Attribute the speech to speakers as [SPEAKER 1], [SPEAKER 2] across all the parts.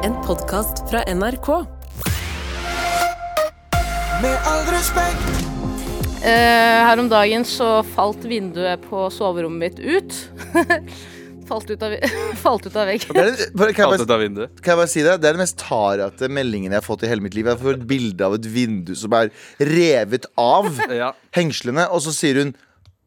[SPEAKER 1] podkast fra NRK.
[SPEAKER 2] Med all respekt,
[SPEAKER 3] Eh, her om dagen så falt vinduet på soverommet mitt ut. falt, ut av, falt ut av veggen.
[SPEAKER 4] Det er den, bare, kan, jeg
[SPEAKER 5] Alt
[SPEAKER 4] bare,
[SPEAKER 5] ut av vinduet.
[SPEAKER 4] kan jeg bare si det? Det er den mest tarete meldingen jeg har fått i hele mitt liv. Jeg får et bilde av et vindu som er revet av
[SPEAKER 5] Ja.
[SPEAKER 4] hengslene, og så sier hun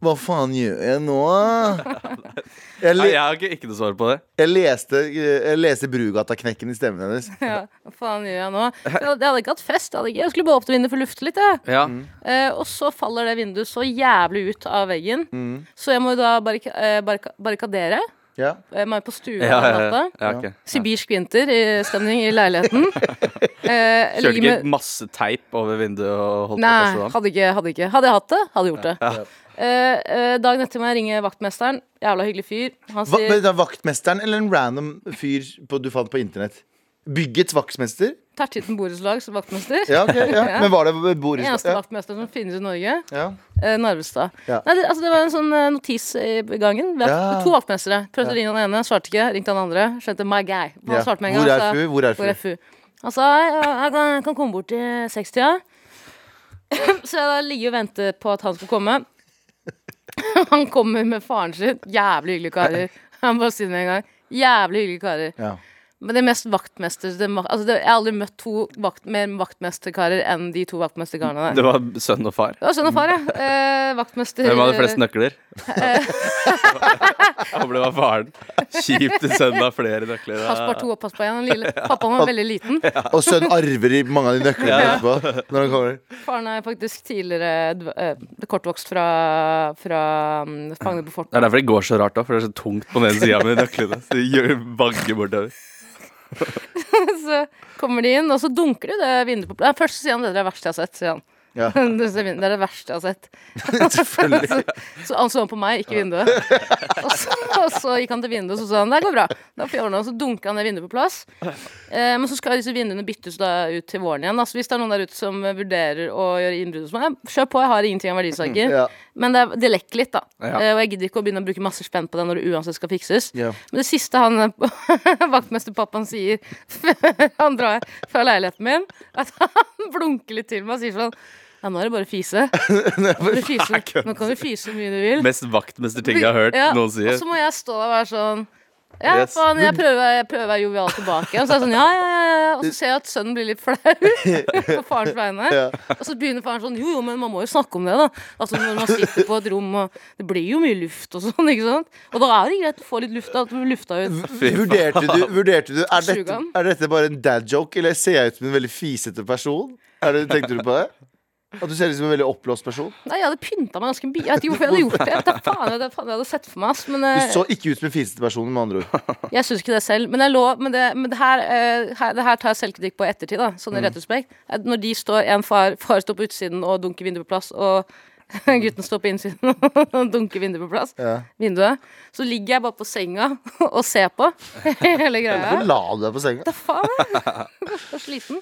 [SPEAKER 4] hva faen gjør jeg nå? Jeg, le,
[SPEAKER 5] Nei, jeg har ikke, ikke noe svar på det.
[SPEAKER 4] jeg leste, jeg leste Brugata-knekken i stemmen hennes.
[SPEAKER 3] Ja, hva faen gjør jeg nå? Så Jeg hadde, jeg hadde ikke hatt fest. Jeg, hadde ikke, jeg skulle bare opp til vinduet for å lufte litt. Jeg.
[SPEAKER 5] Ja.
[SPEAKER 3] Eh, og så faller det vinduet så jævlig ut av veggen.
[SPEAKER 5] Mm.
[SPEAKER 3] Så jeg må jo da barrika eh, barrika barrikadere.
[SPEAKER 4] Ja.
[SPEAKER 3] Jeg må jo på stua
[SPEAKER 5] Ja,
[SPEAKER 3] den
[SPEAKER 5] ja, ja.
[SPEAKER 3] natta.
[SPEAKER 5] ja ok.
[SPEAKER 3] Sibirsk vinter i stemning i leiligheten. Eh,
[SPEAKER 5] Kjørte
[SPEAKER 3] ligger
[SPEAKER 5] ikke
[SPEAKER 3] med-
[SPEAKER 5] masse teip over vinduet og holdt på
[SPEAKER 3] Nei,
[SPEAKER 5] første dagen?
[SPEAKER 3] hadde ikke, hadde ikke. Hadde jeg hatt det, hadde jeg gjort det. Eh, eh, dagen etter må jeg ringe vaktmesteren. Jævla hyggelig fyr. Han
[SPEAKER 4] Va,
[SPEAKER 3] sier
[SPEAKER 4] vent da, vaktmesteren eller en random fyr på, du fant på internett? Byggets vaktmester?
[SPEAKER 3] Tertitten borettslags vaktmester.
[SPEAKER 4] Ja, ok, ja. Men var det Boris?
[SPEAKER 3] Eneste
[SPEAKER 4] Ja,
[SPEAKER 3] vaktmester som finnes i Norge.
[SPEAKER 4] ja.
[SPEAKER 3] Eh, Narvestad.
[SPEAKER 4] Ja.
[SPEAKER 3] Nei, det, altså, det var en sånn eh, notis i gangen. Vi har
[SPEAKER 4] Ja.
[SPEAKER 3] To vaktmestere. Prøvde å ringe han ene, svarte ikke. Ringte han andre. Skjønte my guy. Han
[SPEAKER 4] Ja.
[SPEAKER 3] svarte med en
[SPEAKER 4] Hvor
[SPEAKER 3] gang.
[SPEAKER 4] er
[SPEAKER 3] sa,
[SPEAKER 4] fru? Hvor er
[SPEAKER 3] Hvor er
[SPEAKER 4] fru?
[SPEAKER 3] FU? Han sa jeg, jeg kan, jeg kan komme bort i sekstida. Så jeg da ligger og venter på at han skal komme. Han kommer med faren sin. Jævlig hyggelige karer. Han bare sier det med en gang. Jævlig hyggelige karer.
[SPEAKER 4] Ja.
[SPEAKER 3] Men det mest vaktmester det, ma- altså det, Jeg har aldri møtt to vakt, mer vaktmesterkarer enn de to vaktmesterkarene der.
[SPEAKER 5] Det var sønn og far.
[SPEAKER 3] Det var sønn og far, ja. Eh, vaktmester
[SPEAKER 5] Hvem hadde flest nøkler? Jeg håper det var faren. Kjipt hvis sønnen har flere nøkler.
[SPEAKER 3] Pass på to og pass på én. Den lille- Pappaen var veldig liten.
[SPEAKER 4] Og sønnen arver i mange av de nøklene etterpå. Når han kommer
[SPEAKER 3] Faren er faktisk tidligere dv- eh, kortvokst fra, fra mm, Fangene på fortet.
[SPEAKER 5] Det er derfor det går så rart òg, for det er så tungt på den ene sida med nøklene. Så de gjør- vagger bortover.
[SPEAKER 3] Så kommer de inn, og så dunker de det vinduet på plass. Nei, Først så sier han det er det verste jeg har sett. sier han.
[SPEAKER 4] Ja.
[SPEAKER 3] Det er det er det verste jeg har sett. så, så han så på meg, ikke vinduet. Og så, og så gikk han til vinduet og så sa han, det går bra. Da får jeg ordne, det». og så dunka han det vinduet på plass. Eh, men så skal disse vinduene byttes da ut til våren igjen. Altså, hvis det er noen der ute som vurderer å gjøre innbrudd hos meg, kjør på. Jeg har ingenting av verdisaker.
[SPEAKER 4] Ja.
[SPEAKER 3] Men det, er- det lekker litt, da.
[SPEAKER 5] Ja.
[SPEAKER 3] Eh, og jeg gidder ikke å begynne å bruke masse spenn på det når det uansett skal fikses.
[SPEAKER 4] Ja.
[SPEAKER 3] Men det siste han vaktmesterpappaen sier før han drar fra leiligheten min, at han blunker litt til meg og sier sånn Ja, nå er det bare å fise. Nå, kan du fise. nå kan du fise så mye du vil.
[SPEAKER 5] Mest vaktmesterting jeg har hørt
[SPEAKER 3] Ja,
[SPEAKER 5] noen
[SPEAKER 3] Og
[SPEAKER 5] sier.
[SPEAKER 3] så må jeg stå der og være sånn ja,
[SPEAKER 5] Yes.
[SPEAKER 3] faen, jeg prøver, jeg prøver å være jovial tilbake. igjen. Og så er jeg sånn, ja, ja, ja, ja. Og så ser jeg at sønnen blir litt flau på farens vegne.
[SPEAKER 4] Ja.
[SPEAKER 3] Og så begynner faren sånn Jo, jo, men man må jo snakke om det, da. Altså Når man sitter på et rom, og det blir jo mye luft og sånn, ikke sant. Og da er det greit å få litt luft, da, at du blir lufta ut.
[SPEAKER 4] Vurderte du, vurderte du er, dette,
[SPEAKER 3] Sjugan.
[SPEAKER 4] er dette bare en dad joke, eller ser jeg ut som en veldig fisete person? Er det, tenkte du på det? At du ser ut som en veldig oppblåst person?
[SPEAKER 3] Nei, jeg hadde pynta meg ganske mye. Jeg vet ikke hvorfor jeg hadde gjort det. Jeg vet da faen, jeg, vet da faen, jeg hadde sett for meg ass. Men
[SPEAKER 4] Du
[SPEAKER 3] eh,
[SPEAKER 4] så ikke ut som en fisete person, med andre ord.
[SPEAKER 3] jeg syns ikke det selv. Men, jeg lå, men, det, men det, her, eh, her, det her tar jeg selvkritikk på i ettertid, da. Sånn i
[SPEAKER 4] Mm.
[SPEAKER 3] retrospekt. Eh, Når de står, en far, far står på utsiden og dunker vinduet på plass, og gutten står på innsiden og dunker vinduet på plass,
[SPEAKER 4] Ja.
[SPEAKER 3] vinduet, så ligger jeg bare på senga og ser på hele greia.
[SPEAKER 4] Hvorfor la du deg på senga?
[SPEAKER 3] Faen, jeg er så sliten.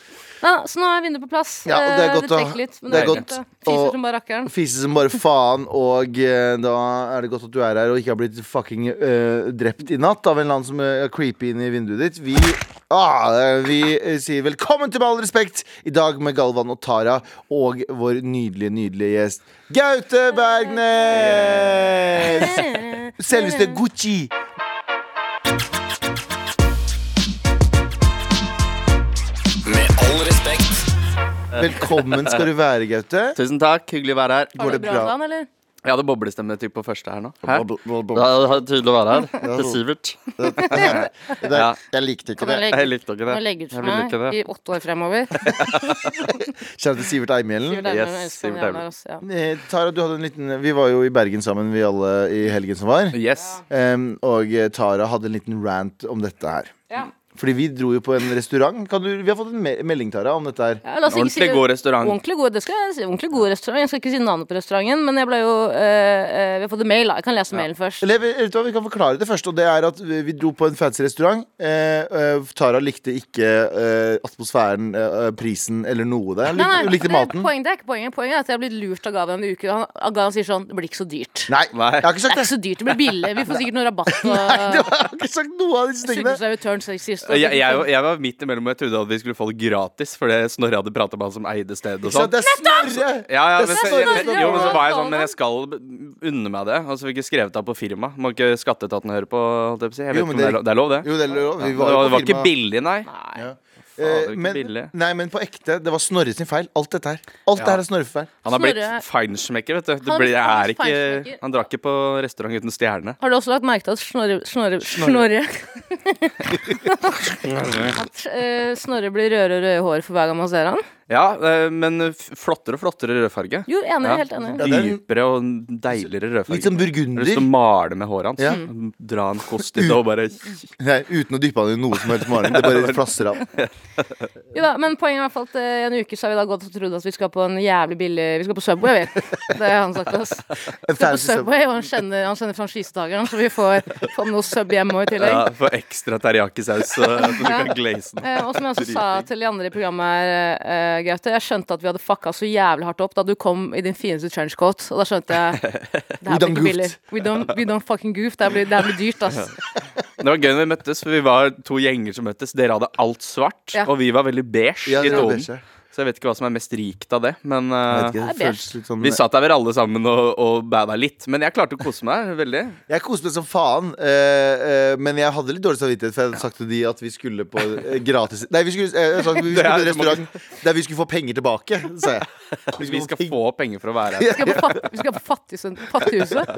[SPEAKER 3] Nei, da, så nå er vinduet på plass.
[SPEAKER 4] Ja, og det er
[SPEAKER 3] Eh,
[SPEAKER 4] godt å-
[SPEAKER 3] trekker litt, men
[SPEAKER 4] det
[SPEAKER 3] det
[SPEAKER 4] er
[SPEAKER 3] er
[SPEAKER 4] godt
[SPEAKER 3] fint. da.
[SPEAKER 4] å-
[SPEAKER 3] Fiser som bare rakkeren.
[SPEAKER 4] Fise som bare faen, og eh, da er det godt at du er her og ikke har blitt fucking eh, drept i natt av en eller annen som eh, creeper inn i vinduet ditt. Vi, ah, eh, vi eh, sier velkommen til Med all respekt i dag med Galvan og Tara og vår nydelige, nydelige gjest Gaute Bergnes! Selveste Gucci.
[SPEAKER 2] med all respekt.
[SPEAKER 4] Velkommen skal du være, Gaute.
[SPEAKER 5] Tusen takk, hyggelig å være her.
[SPEAKER 3] Har
[SPEAKER 4] Går
[SPEAKER 3] du
[SPEAKER 4] det
[SPEAKER 3] bra,
[SPEAKER 4] bra?
[SPEAKER 3] bra? Dan, eller?
[SPEAKER 5] Jeg hadde boblestemme typ, på første her nå. Hæ?
[SPEAKER 4] Bla, bla, bla,
[SPEAKER 5] Det
[SPEAKER 4] bla.
[SPEAKER 5] er tydelig å være her. Til Sivert.
[SPEAKER 4] Det der-
[SPEAKER 5] Ja.
[SPEAKER 4] Jeg likte ikke
[SPEAKER 3] Kan jeg
[SPEAKER 4] det.
[SPEAKER 3] legge
[SPEAKER 5] Jeg likte ikke
[SPEAKER 3] Må
[SPEAKER 5] det.
[SPEAKER 3] legge ut
[SPEAKER 5] Jeg
[SPEAKER 3] for
[SPEAKER 5] ville ikke
[SPEAKER 3] meg
[SPEAKER 5] det.
[SPEAKER 3] i åtte år fremover.
[SPEAKER 4] Kjære til Sivert Eimhjellen.
[SPEAKER 3] Sivert Eimeren,
[SPEAKER 5] Yes,
[SPEAKER 3] elsker han
[SPEAKER 5] Sivert
[SPEAKER 3] jævla
[SPEAKER 5] Eimeren.
[SPEAKER 3] ass, ja.
[SPEAKER 4] Eh, Tara, du hadde en liten Vi var jo i Bergen sammen, vi alle, i helgen som var.
[SPEAKER 5] Yes.
[SPEAKER 4] Em, og eh, Tara hadde en liten rant om dette her.
[SPEAKER 3] Ja.
[SPEAKER 4] Fordi vi dro jo på en restaurant. Kan du, vi har fått en me melding, Tara, om dette her.
[SPEAKER 3] Ja, la oss Altså, ikke si
[SPEAKER 5] Ordentlig
[SPEAKER 3] det-
[SPEAKER 5] god restaurant.
[SPEAKER 3] Ordentlig god, det skal jeg si. Ordentlig god restaurant. Jeg skal ikke si navnet på restauranten, men jeg ble jo eh, eh, Vi har fått en mail, da. Jeg kan lese mailen først.
[SPEAKER 4] Eller vet du hva, Vi kan forklare det først. Og det er at Vi vi dro på en fancy restaurant. Eh, eh, Tara likte ikke eh, atmosfæren, eh, prisen eller noe der. Hun likte, hun likte
[SPEAKER 3] det er-
[SPEAKER 4] maten.
[SPEAKER 3] Poenget, det er ikke poenget. Poenget er at jeg har blitt lurt av Gavi en uke. og Han, og Gavi sier sånn Det blir ikke så dyrt.
[SPEAKER 4] Nei,
[SPEAKER 5] Nei.
[SPEAKER 4] jeg har ikke
[SPEAKER 3] Det er
[SPEAKER 4] sagt det!
[SPEAKER 3] ikke så dyrt. Det blir billig. Vi får sikkert noe rabatt
[SPEAKER 4] Nei, det
[SPEAKER 3] og
[SPEAKER 4] var, jeg har ikke sagt noe av disse tingene.
[SPEAKER 3] Sugerservitøren sier lyst til å
[SPEAKER 5] Jeg, jeg, jeg var midt imellom, og jeg trodde at vi skulle få det gratis. Fordi Snorre hadde prata med han som eide stedet. og
[SPEAKER 4] Ikke sant?
[SPEAKER 5] sånn
[SPEAKER 4] Det er Snorre!
[SPEAKER 5] ja, ja,
[SPEAKER 4] Det
[SPEAKER 5] men,
[SPEAKER 4] er
[SPEAKER 5] så,
[SPEAKER 4] Snorre
[SPEAKER 5] men,
[SPEAKER 4] Snorre.
[SPEAKER 5] jo, men så var jeg sånn Men jeg skal b- unne meg det. Altså, Og så fikk jeg skrevet av på firma. Må ikke skatteetaten høre på? holdt Jeg på å si. jeg
[SPEAKER 4] Jo, men
[SPEAKER 5] vet ikke om det,
[SPEAKER 4] det-
[SPEAKER 5] er lov- det er lov, det.
[SPEAKER 4] Jo, det er lov. Vi
[SPEAKER 5] det,
[SPEAKER 4] var
[SPEAKER 5] var,
[SPEAKER 4] jo på
[SPEAKER 5] det var
[SPEAKER 4] firma.
[SPEAKER 5] ikke billig, nei.
[SPEAKER 3] Nei.
[SPEAKER 4] Ja. Eh,
[SPEAKER 5] det var ikke
[SPEAKER 4] men,
[SPEAKER 5] billig.
[SPEAKER 4] nei, men på ekte, det var Snorres sin feil. Alt dette her. Alt det her er Snorres feil.
[SPEAKER 5] Han har blitt
[SPEAKER 3] Snorre-
[SPEAKER 5] feinschmecker, vet du. Det
[SPEAKER 3] Han har blitt
[SPEAKER 5] blir, er ikke,
[SPEAKER 3] feinschmecker.
[SPEAKER 5] han drakk ikke på restaurant uten stjerne.
[SPEAKER 3] Har du også lagt merke til at Snorre Snorre Snorre, At eh, Snorre blir rødere og rødere i håret for hver gang man ser han?
[SPEAKER 5] Ja, eh, men f- flottere og flottere rødfarge.
[SPEAKER 3] Jo, enig.
[SPEAKER 5] Ja.
[SPEAKER 3] Helt enig.
[SPEAKER 4] Ja, det er en-
[SPEAKER 5] Dypere og deiligere rødfarge.
[SPEAKER 4] Litt som
[SPEAKER 5] Jeg har lyst
[SPEAKER 4] burgunder.
[SPEAKER 5] til å male med håret hans.
[SPEAKER 4] Ja.
[SPEAKER 5] Dra en kost i det og bare
[SPEAKER 4] Nei, uten å dyppe han i noe som helst maling. Det bare flasser av.
[SPEAKER 3] Jo da, men poenget er i hvert fall at eh, i en uke så har vi da gått og trodd at vi skal på en jævlig billig Vi skal på Subway, vi. Det har han sagt til oss. Vi
[SPEAKER 4] En
[SPEAKER 3] skal på
[SPEAKER 4] fancy sub.
[SPEAKER 3] Subway, og han kjenner, han kjenner franchisetakeren, så vi får, får noe sub hjemme også i tillegg.
[SPEAKER 5] ja, få ekstra teriyaki-saus, så så du kan glaze den.
[SPEAKER 3] Eh, og som jeg også sa til de andre i programmet her, eh, Gaute, jeg skjønte at vi hadde fucka så jævlig hardt opp da du kom i din fineste trenchcoat, og da skjønte jeg Det her
[SPEAKER 4] We
[SPEAKER 3] blir
[SPEAKER 4] done
[SPEAKER 3] ikke billig.
[SPEAKER 4] goofed.
[SPEAKER 3] We don't, we don't fucking goof. Det her blir, det her blir dyrt, ass.
[SPEAKER 5] Det var gøy når vi møttes, for vi var to gjenger som møttes. Dere hadde alt svart,
[SPEAKER 3] Ja.
[SPEAKER 5] og vi var veldig beige
[SPEAKER 4] Ja,
[SPEAKER 5] i
[SPEAKER 4] det var
[SPEAKER 5] tonen.
[SPEAKER 4] beige.
[SPEAKER 5] Så jeg vet ikke hva som er mest rikt av det, men
[SPEAKER 4] Jeg
[SPEAKER 5] eh,
[SPEAKER 4] vet ikke,
[SPEAKER 3] Det
[SPEAKER 4] det
[SPEAKER 3] er
[SPEAKER 4] føles litt sånn
[SPEAKER 5] vi satt der vel alle sammen og, og bada litt. Men jeg klarte å kose meg veldig.
[SPEAKER 4] Jeg koste meg som faen, eh, eh, men jeg hadde litt dårlig samvittighet. For jeg hadde sagt til de at vi skulle på eh, gratis Nei, vi skulle, eh, jeg sa at vi
[SPEAKER 5] Det
[SPEAKER 4] skulle
[SPEAKER 5] er-
[SPEAKER 4] på en restaurant der vi skulle få penger tilbake, sa jeg.
[SPEAKER 5] Vi
[SPEAKER 4] skulle få
[SPEAKER 5] skal
[SPEAKER 4] ting.
[SPEAKER 5] få penger for å være her.
[SPEAKER 3] Vi skal på, fatt, vi skal på fattigsund- fattighuset.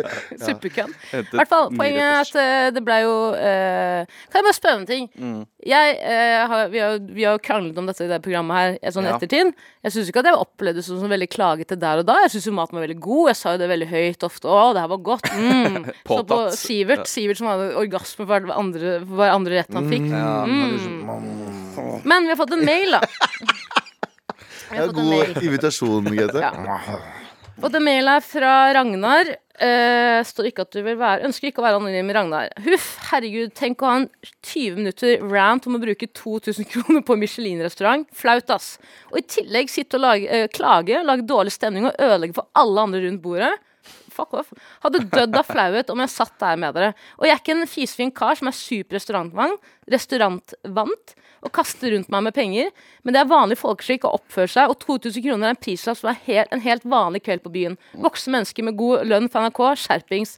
[SPEAKER 3] Suppekønn. I hvert fall, poenget er at eh, det ble jo eh, Kan jeg bare spørre om en ting?
[SPEAKER 5] Mm.
[SPEAKER 3] Jeg, eh, har, vi, har, vi har jo kranglet om dette i det programmet her eh, sånn i
[SPEAKER 5] Ja.
[SPEAKER 3] ettertid. Jeg syns ikke at jeg opplevde det som, som veldig klagete der og da. Jeg syns jo maten var veldig god. Jeg sa jo det veldig høyt ofte. Å, det her var godt. Mm. Så på
[SPEAKER 5] Påtatt.
[SPEAKER 3] Sivert, Sivert som hadde orgasme for hver andre, for hver andre rett han fikk. Mm.
[SPEAKER 5] Ja,
[SPEAKER 3] Men vi har fått en mail, da. Vi
[SPEAKER 4] Ja,
[SPEAKER 3] har fått en mail.
[SPEAKER 4] god invitasjon, Gaute.
[SPEAKER 3] Og det mailet er fra Ragnar. Eh, står ikke at du vil være Ønsker ikke å være anonym, Ragnar. Huff, herregud, tenk å ha en 20 minutter rant om å bruke 2000 kroner på en Michelin-restaurant. Flaut, ass. Og i tillegg sitte og lage, eh, klage, lage dårlig stemning og ødelegge for alle andre rundt bordet. Fuck off. Hadde dødd av flauhet om jeg satt der med dere. Og jeg er ikke en fisefin kar som er super restaurantvant, restaurantvant og kaster rundt meg med penger, men det er vanlig folkeskikk å oppføre seg, og 2000 kroner er en prislapp som er helt, en helt vanlig kveld på byen. Voksne mennesker med god lønn fra NRK, skjerpings.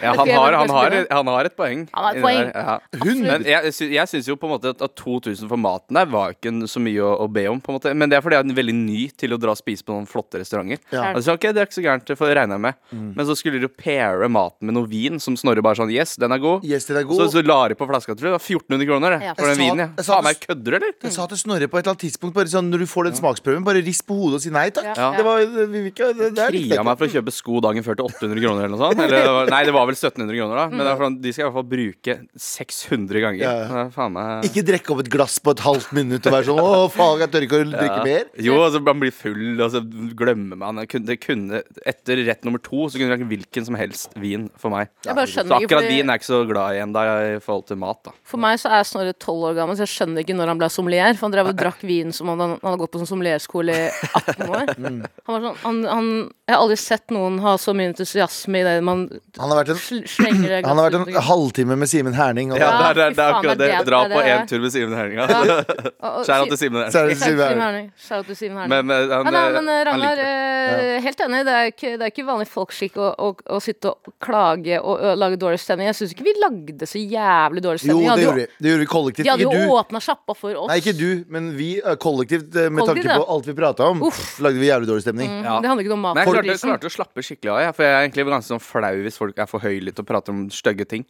[SPEAKER 5] ja han, har, han, har, han har et poeng.
[SPEAKER 3] Han har et
[SPEAKER 5] i det
[SPEAKER 3] poeng.
[SPEAKER 5] der, Ja. Men jeg, sy- jeg syns jo på en måte at, at 2000 for maten der var ikke en- så mye å, å be om. på en måte Men det er fordi jeg er veldig ny til å dra og spise på noen flotte restauranter.
[SPEAKER 4] Ja. Mm.
[SPEAKER 5] Altså, ok, Det er ikke så gærent, det får jeg regne med. Men så skulle de jo paire maten med noe vin, som Snorre bare sånn Yes, den er god.
[SPEAKER 4] Yes, den er god.
[SPEAKER 5] Så, så la de på flaska, tror jeg. Det var 1400 kroner det,
[SPEAKER 3] Ja.
[SPEAKER 5] for
[SPEAKER 4] Jeg
[SPEAKER 5] den
[SPEAKER 4] sa-
[SPEAKER 5] vinen.
[SPEAKER 4] jeg
[SPEAKER 5] Ja.
[SPEAKER 4] sa-
[SPEAKER 5] Faen meg kødder, du, eller?
[SPEAKER 4] Jeg sa til Snorre på et eller annet tidspunkt Bare sånn, når du får den smaksprøven, bare rist på hodet og si nei takk.
[SPEAKER 3] Ja.
[SPEAKER 4] Det var, det, vi vil ikke, det, det er litt
[SPEAKER 5] Fria meg for å kjøpe sko dagen før til 800 kroner eller noe sånt. Eller, det var- nei, det var vel 1700 kroner, da.
[SPEAKER 3] Mm.
[SPEAKER 5] Men det er for, de skal i hvert fall bruke 600 ganger.
[SPEAKER 4] Ja.
[SPEAKER 5] Det er faen meg
[SPEAKER 4] Ikke drikke opp et glass på et halvt minutt og være sånn Å, faen, jeg tør ikke å drikke mer.
[SPEAKER 5] Jo, altså man blir full, og så glemmer man det kunne, det kunne, Etter rett nummer to så kunne det vært hvilken som helst vin for meg.
[SPEAKER 3] Jeg bare
[SPEAKER 5] Så
[SPEAKER 3] skjønner ikke,
[SPEAKER 5] akkurat vin
[SPEAKER 3] fordi
[SPEAKER 5] er jeg ikke så glad i ennå i forhold til mat, da.
[SPEAKER 3] For meg så er Snorre tolv år gammel, så jeg skjønner ikke når han ble sommelier. For han drev og drakk vin som om han, han hadde gått på sånn sommelierskole i 18 år.
[SPEAKER 4] Mm.
[SPEAKER 3] Han var sånn, han, han, jeg har aldri sett noen ha så mye entusiasme i det man
[SPEAKER 4] Han har vært en,
[SPEAKER 3] sl- slenger det glasset
[SPEAKER 4] han har
[SPEAKER 3] rundt
[SPEAKER 4] vært en
[SPEAKER 3] omkring.
[SPEAKER 4] halvtime med Simen Herning. Altså, Og
[SPEAKER 5] Ja,
[SPEAKER 3] Ja,
[SPEAKER 5] det er, det er,
[SPEAKER 3] fy
[SPEAKER 5] det er
[SPEAKER 3] faen,
[SPEAKER 5] akkurat
[SPEAKER 3] det
[SPEAKER 5] det.
[SPEAKER 3] er det-
[SPEAKER 5] Dra
[SPEAKER 3] det er
[SPEAKER 5] på
[SPEAKER 3] det.
[SPEAKER 5] én tur med Simen Herninga.
[SPEAKER 3] Og- og-
[SPEAKER 5] Skjæra til Simen
[SPEAKER 4] så
[SPEAKER 5] Herninga.
[SPEAKER 4] er det
[SPEAKER 3] Shout out til
[SPEAKER 4] Simen
[SPEAKER 3] Simen
[SPEAKER 4] Herning.
[SPEAKER 3] Herning. Shout out til Simen Herning.
[SPEAKER 5] Men, men, han,
[SPEAKER 3] Nei, nei, men eh,
[SPEAKER 5] han
[SPEAKER 3] Ragnar,
[SPEAKER 5] liker det.
[SPEAKER 3] eh, helt enig. Det er ikke, det er ikke vanlig folkskikk å, å, å sitte og klage og ø, lage dårlig stemning. Jeg syns ikke vi lagde så jævlig dårlig
[SPEAKER 4] Jo,
[SPEAKER 3] stemning.
[SPEAKER 4] det
[SPEAKER 3] hadde
[SPEAKER 4] gjorde vi. Det gjorde vi kollektivt.
[SPEAKER 3] de hadde
[SPEAKER 4] Ikke
[SPEAKER 3] jo
[SPEAKER 4] du.
[SPEAKER 3] åpna sjappa for oss.
[SPEAKER 4] Nei, ikke du, men vi eh, kollektivt, eh, med
[SPEAKER 3] Kollektivt,
[SPEAKER 4] tanke på
[SPEAKER 3] ja.
[SPEAKER 4] alt vi prata om,
[SPEAKER 3] Uff. Mm.
[SPEAKER 4] lagde vi jævlig dårlig stemning.
[SPEAKER 5] Ja.
[SPEAKER 3] Det handler ikke om liksom. mat.
[SPEAKER 5] Men jeg
[SPEAKER 3] for
[SPEAKER 5] klarte,
[SPEAKER 3] prisen.
[SPEAKER 5] klarte å slappe skikkelig av, jeg, for jeg er egentlig ganske sånn flau hvis folk er for høylytte og prater om stygge ting.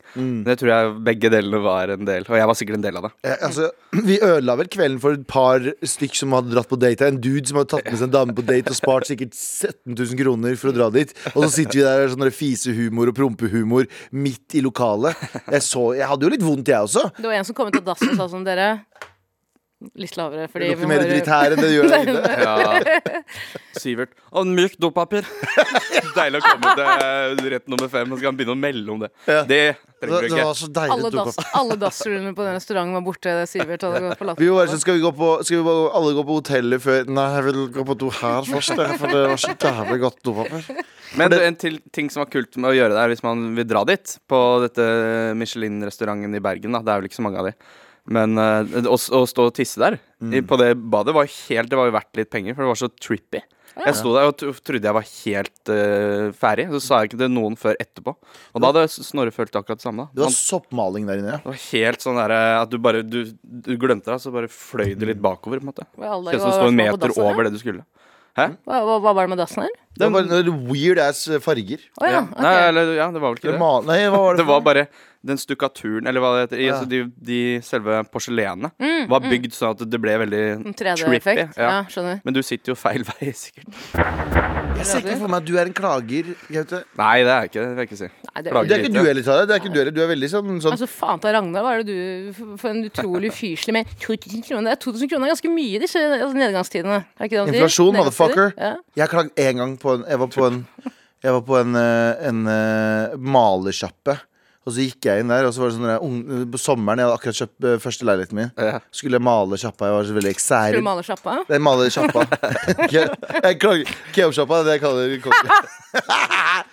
[SPEAKER 5] Det tror jeg begge delene var en del, og jeg var sikkert en del av det.
[SPEAKER 4] Eh, altså, vi ødela vel kvelden for et par stykk som hadde dratt på date. En dude som hadde tatt med seg en dame på date og spart sikkert 17 000 kroner for å dra dit. Og så sitter vi der og sånn der fisehumor og prompehumor midt i lokalet. Jeg, så, jeg hadde jo litt vondt, jeg også.
[SPEAKER 3] Det var en som kom ut av dassen og sa sånn Dere, Litt lavere. Fordi
[SPEAKER 4] Det lukter
[SPEAKER 3] vi må
[SPEAKER 4] mer
[SPEAKER 3] bare-
[SPEAKER 4] dritt her enn det gjør der inne.
[SPEAKER 5] Ja. Sivert. Og mykt dopapir. Deilig å komme til rett nummer fem, og så kan han begynne å melde om det. Det
[SPEAKER 4] Det
[SPEAKER 5] trenger du
[SPEAKER 4] det
[SPEAKER 5] ikke.
[SPEAKER 4] var så deilig
[SPEAKER 3] Alle,
[SPEAKER 4] å dukke
[SPEAKER 3] dass,
[SPEAKER 4] opp.
[SPEAKER 3] alle dassrullene på den restauranten var borte. Det Sivert hadde gått forlatt.
[SPEAKER 4] Vi var sånn, skal vi, gå på, skal vi bare, alle gå på hotellet før Nei, jeg vil gå på do her først, jeg, for det var så jævlig godt dopapir.
[SPEAKER 5] Men en til ting som var kult med å gjøre der, hvis man vil dra dit, på dette Michelin-restauranten i Bergen, da. Det er vel ikke så mange av de. Men eh, å, s- å stå og tisse der, i, på det badet, var helt Det var jo verdt litt penger, for det var så trippy. Jeg sto der og tro- trodde jeg var helt eh, ferdig. Så sa jeg ikke til noen før etterpå. Og da hadde Snorre følt akkurat det samme.
[SPEAKER 4] Det
[SPEAKER 5] da
[SPEAKER 4] var soppmaling der inne, ja.
[SPEAKER 5] Det var helt sånn der, eh, at du bare du, du glemte deg, så bare fløy du litt bakover. på en måte
[SPEAKER 3] Hvor alle
[SPEAKER 5] Kjente som
[SPEAKER 3] var-
[SPEAKER 5] du sto
[SPEAKER 3] var
[SPEAKER 5] en
[SPEAKER 3] på
[SPEAKER 5] meter
[SPEAKER 3] dassen, ja.
[SPEAKER 5] over det du skulle.
[SPEAKER 3] Hva, hva, hva var det med dassen her?
[SPEAKER 4] Det var bare noen weird ass farger.
[SPEAKER 3] Å ja. ok.
[SPEAKER 5] Nei, eller, ja, det var vel
[SPEAKER 4] Det
[SPEAKER 5] ikke det.
[SPEAKER 4] ma- Nei, hva var det?
[SPEAKER 5] Det var bare den stukkaturen, eller hva det heter. i-
[SPEAKER 4] Ja.
[SPEAKER 5] Altså, de, de selve porselenet var bygd sånn at det ble veldig
[SPEAKER 3] Mm, En
[SPEAKER 5] trippy.
[SPEAKER 3] 3D-effekt. Ja.
[SPEAKER 5] Ja.
[SPEAKER 3] skjønner.
[SPEAKER 5] Men du sitter jo feil vei, sikkert.
[SPEAKER 4] Jeg ser ikke for meg at du er en klager, Gaute.
[SPEAKER 5] Nei, det er ikke det. vil jeg ikke si.
[SPEAKER 3] Nei, det,
[SPEAKER 5] Klager.
[SPEAKER 4] Det er ikke du heller, Tara. Det er ikke du heller. Du er veldig sånn, sånn
[SPEAKER 3] altså, faen ta Ragnar, hva er det du for- For en utrolig fyrslig med 2000 kroner. Det er 2000 kroner er ganske mye i disse altså, nedgangstidene. Er ikke det han sier?
[SPEAKER 4] Inflasjon,
[SPEAKER 3] Nedgangstider.
[SPEAKER 4] motherfucker.
[SPEAKER 3] Ja.
[SPEAKER 4] Jeg har klagd én gang på en Jeg var på en, jeg var på en, eh, en eh, malersjappe. Og så gikk jeg inn der, og så var det sånn der, ung- på sommeren Jeg hadde akkurat kjøpt eh, første leiligheten min.
[SPEAKER 5] Ja.
[SPEAKER 4] Skulle jeg male sjappa. Jeg var så veldig
[SPEAKER 3] Skal du
[SPEAKER 4] excited.
[SPEAKER 3] male sjappa?
[SPEAKER 4] Nei, male sjappa. Jeg- jeg klager- Kebabsjappa, det er det jeg kaller kokken.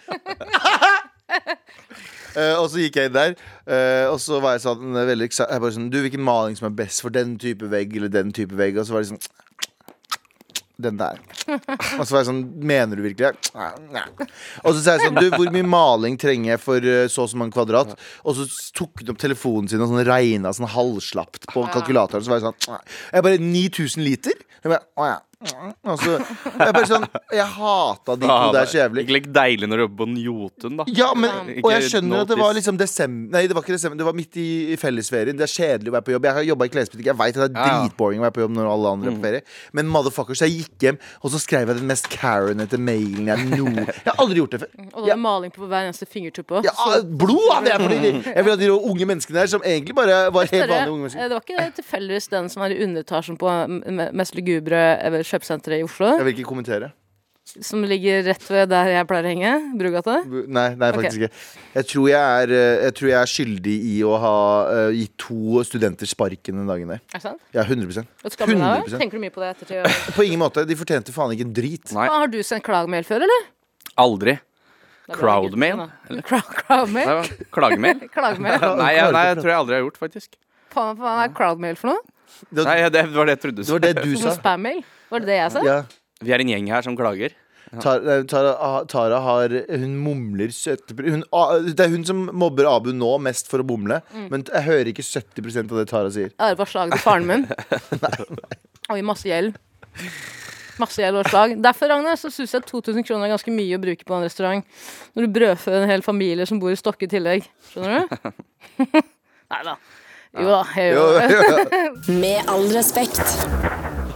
[SPEAKER 4] Eh, og så gikk jeg inn der, eh, og så var jeg sånn eh, veldig exci- jeg bare sånn, Du, hvilken maling som er best for den type vegg eller den type vegg? Og så var det sånn Den der. Og så var jeg sånn Mener du virkelig det? Nei. Og så sa jeg sånn Du, hvor mye maling trenger jeg for eh, så og så mange kvadrat? Og så tok hun opp telefonen sin og sånn regna sånn halvslapt på kalkulatoren. Så var jeg sånn «Nei». Jeg bare 9000 liter? Jeg bare, å ja. Og så Jeg bare sånn Jeg hata de to der så jævlig.
[SPEAKER 5] Ikke like deilig når du jobber på den Jotun, da.
[SPEAKER 4] Ja, men,
[SPEAKER 5] Ikke
[SPEAKER 4] og jeg skjønner at det
[SPEAKER 5] notis.
[SPEAKER 4] var liksom desember Nei, det var ikke desember, det var midt i, i fellesferien. Det er kjedelig å være på jobb. Jeg har jobba i klesbutikk. Jeg vet at det er
[SPEAKER 5] Ja, Mm. ja.
[SPEAKER 4] dritboring å være på jobb når alle andre er på ferie. Men motherfuckers, jeg gikk hjem, og så skrev jeg den mest Karen-ete mailen jeg no... Jeg har aldri gjort det før.
[SPEAKER 3] Og da er det maling på hver eneste fingertupp òg.
[SPEAKER 4] Ja, blod hadde jeg fordi Jeg vil at de unge menneskene her, som egentlig bare var helt vanlige unge mennesker
[SPEAKER 3] eh, det var ikke det tilfeldigvis den som er i underetasjen på m- mest lugubre eh, kjøpesenteret i Oslo?
[SPEAKER 4] Jeg vil ikke kommentere.
[SPEAKER 3] Som ligger rett ved der jeg pleier å henge? Brugata?
[SPEAKER 4] Bu- Nei, nei faktisk ikke. Jeg tror jeg, er, eh, jeg tror jeg er skyldig i å ha eh, gitt to studenter sparken den dagen der.
[SPEAKER 3] Er det sant?
[SPEAKER 4] Ja, 100
[SPEAKER 3] Og skammer du deg?
[SPEAKER 4] 100%.
[SPEAKER 3] Tenker du mye på det ettertid?
[SPEAKER 4] På ingen måte. De fortjente faen ikke en drit.
[SPEAKER 5] Nei.
[SPEAKER 3] Har du sendt klagemail før, eller?
[SPEAKER 5] Aldri.
[SPEAKER 3] Da blir det
[SPEAKER 5] Crowdmail,
[SPEAKER 3] gutten, da. Crow- Crowdmail?
[SPEAKER 5] Nei, Klagemail?
[SPEAKER 3] Klagemail?
[SPEAKER 5] Nei, jeg, nei, jeg tror jeg aldri har gjort, faktisk.
[SPEAKER 3] Faen, faen, hva er crowdmail for noe?
[SPEAKER 4] Det var
[SPEAKER 5] Nei, Det var det jeg trodde.
[SPEAKER 4] det, var det du
[SPEAKER 3] Som
[SPEAKER 4] sa.
[SPEAKER 3] spammail? Var det det jeg sa?
[SPEAKER 4] Ja.
[SPEAKER 5] Vi er en gjeng her som klager.
[SPEAKER 4] Tara, nei, Tara, ah, Tara har Hun mumler 70 hun, ah, Det er hun som mobber Abu nå mest for å mumle,
[SPEAKER 3] Mm.
[SPEAKER 4] men jeg hører ikke 70 av det Tara sier.
[SPEAKER 3] Jeg har bare slag til faren min. Oi, masse gjeld. Masse gjeld og slag. Derfor Ragnar, så syns jeg 2000 kroner er ganske mye å bruke på en restaurant. Når du brødfør en hel familie som bor i Stokke i tillegg. Skjønner du? Nei da. Jo da. jeg
[SPEAKER 4] Jo,
[SPEAKER 3] gjør det.
[SPEAKER 4] jo, jo.
[SPEAKER 1] Med all respekt.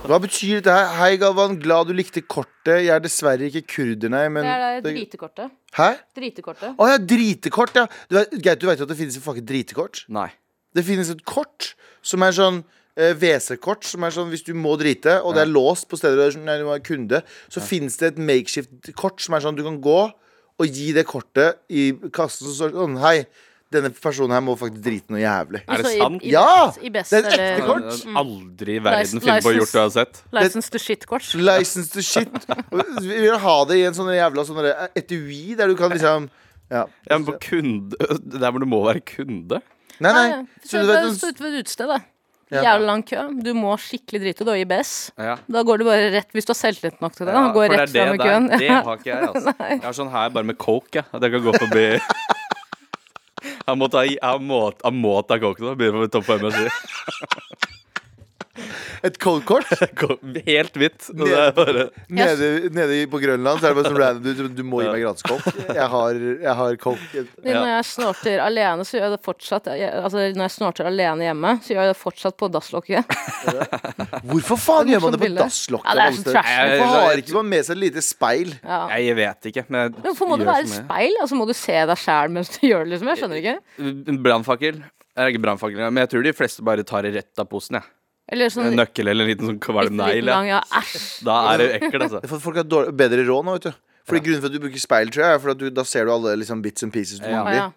[SPEAKER 4] Hva betyr dette her? Hei, Galvan. Glad du likte kortet. Jeg er dessverre ikke kurder, nei, men
[SPEAKER 3] Det er det dritekortet.
[SPEAKER 4] Hæ?
[SPEAKER 3] Dritekortet.
[SPEAKER 4] Å ja, dritekort, ja. Du vet, Gaute, du vet jo at det finnes et fucking dritekort?
[SPEAKER 5] Nei.
[SPEAKER 4] Det finnes et kort som er sånn eh, WC-kort, som er sånn hvis du må drite, og det er låst på steder der nei, du er kunde, så finnes det et makeshift-kort som er sånn du kan gå og gi det kortet i kassen som står sånn Hei, denne personen her må faktisk drite noe jævlig.
[SPEAKER 5] Er det
[SPEAKER 3] Altså, i-
[SPEAKER 5] sant?
[SPEAKER 3] i-
[SPEAKER 4] Ja!
[SPEAKER 3] I best,
[SPEAKER 4] Det er et ekte
[SPEAKER 3] eller-
[SPEAKER 4] kort.
[SPEAKER 5] Mm. Aldri i verden
[SPEAKER 3] License-
[SPEAKER 5] finne på å gjort det jeg har sett.
[SPEAKER 3] License to shit-kort.
[SPEAKER 4] License to shit. Vi vil ha det i en sånn jævla sånn der etui der du kan liksom ja.
[SPEAKER 5] Ja, men på kunde Der hvor du må være kunde?
[SPEAKER 4] Nei, nei.
[SPEAKER 3] Så
[SPEAKER 4] Så
[SPEAKER 3] det
[SPEAKER 4] du vet,
[SPEAKER 3] det står
[SPEAKER 4] en-
[SPEAKER 3] ute ved et utested, da.
[SPEAKER 4] Ja.
[SPEAKER 3] Jævlig lang kø. Du må skikkelig drite, du har IBS.
[SPEAKER 5] Ja.
[SPEAKER 3] Da går du bare rett, hvis du har selvtillit nok til det, da.
[SPEAKER 5] Ja,
[SPEAKER 3] Går
[SPEAKER 5] for
[SPEAKER 3] rett
[SPEAKER 5] det er
[SPEAKER 3] frem i
[SPEAKER 5] det
[SPEAKER 3] køen.
[SPEAKER 5] der. Det har ikke jeg, altså. Jeg har sånn her bare med coke, jeg. At jeg kan gå forbi Jeg må ta, jeg må, jeg må ta coke nå. Begynner på topp fem. jeg sier.
[SPEAKER 4] et cold-kort.
[SPEAKER 5] Coke, Helt hvitt. Og det er bare
[SPEAKER 4] Nede, nede på Grønland så er det bare sånn random du, du må gi meg gratis coke. Jeg har, jeg har coke.
[SPEAKER 3] Men Når jeg snorter alene, så gjør jeg det fortsatt jeg, Altså, når jeg snorter alene hjemme, så gjør jeg det fortsatt på dasslokket.
[SPEAKER 4] Hvorfor
[SPEAKER 3] Det
[SPEAKER 4] faen
[SPEAKER 3] er
[SPEAKER 4] gjør man det
[SPEAKER 3] morsomt
[SPEAKER 4] på
[SPEAKER 3] bilde.
[SPEAKER 4] dasslokket?
[SPEAKER 3] Ja, det er
[SPEAKER 4] alle
[SPEAKER 3] så
[SPEAKER 4] steder?
[SPEAKER 3] trash.
[SPEAKER 4] Hvorfor har ikke man med seg et lite speil?
[SPEAKER 3] Ja.
[SPEAKER 5] Nei, Jeg vet ikke. Men jeg
[SPEAKER 3] Men Hvorfor må det
[SPEAKER 5] gjør
[SPEAKER 3] være
[SPEAKER 5] som jeg-
[SPEAKER 3] speil? Altså, må du se deg sjæl mens du gjør det, liksom? Jeg skjønner ikke.
[SPEAKER 5] Brannfakkel. Jeg er ikke brannfakkel, men jeg tror de fleste bare tar det rett av posen, jeg.
[SPEAKER 3] Eller
[SPEAKER 5] En
[SPEAKER 3] sånn
[SPEAKER 5] nøkkel eller en liten sånn kvalm negl.
[SPEAKER 3] lang,
[SPEAKER 5] Ja.
[SPEAKER 3] ja. Æsj.
[SPEAKER 5] Da er det ekkel, altså.
[SPEAKER 4] Det er for at folk har dårlig, bedre råd nå, vet du. Fordi Grunnen for at du bruker speil, tror jeg, er for at du, da ser du alle liksom, bits and pieces du
[SPEAKER 5] Ja.
[SPEAKER 3] Å,
[SPEAKER 4] mangler.
[SPEAKER 3] ja.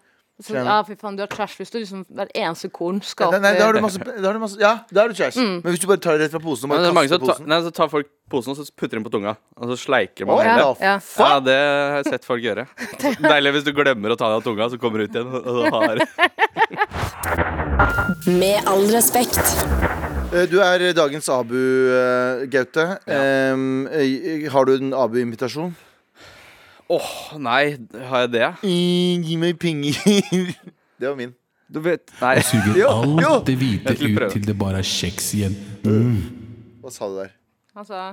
[SPEAKER 3] Så, ja, fy faen, du har trash hvis du liksom Hver eneste korn
[SPEAKER 4] Nei,
[SPEAKER 3] skaper
[SPEAKER 4] nei, da har du masse, da har du masse Ja, da er du trash.
[SPEAKER 3] Mm.
[SPEAKER 4] Men hvis du bare tar det rett fra posen og
[SPEAKER 5] Men det
[SPEAKER 4] bare
[SPEAKER 5] er mange
[SPEAKER 4] kaster
[SPEAKER 5] som ta,
[SPEAKER 4] posen
[SPEAKER 5] nei, så tar folk posen og så putter den på tunga, og så sleiker man
[SPEAKER 4] Oi,
[SPEAKER 5] hele.
[SPEAKER 4] da,
[SPEAKER 3] Ja.
[SPEAKER 5] Ja,
[SPEAKER 4] faen!
[SPEAKER 5] det har jeg sett folk gjøre. Deilig hvis du glemmer å ta det av tunga, så kommer du ut igjen og og har
[SPEAKER 1] Med all respekt.
[SPEAKER 4] Eh, Du er dagens Abu, eh, Gaute. Em, eh, har du en Abu-invitasjon?
[SPEAKER 5] Åh, nei, har jeg det?
[SPEAKER 4] Gi meg penger. Det var min.
[SPEAKER 5] Du vet Nei.
[SPEAKER 6] Suger
[SPEAKER 4] Jo,
[SPEAKER 6] alt
[SPEAKER 4] jo.
[SPEAKER 6] det hvite
[SPEAKER 5] Jeg skulle prøve.
[SPEAKER 6] ut til det bare er kjeks igjen.
[SPEAKER 4] Hva sa du der?
[SPEAKER 3] Altså,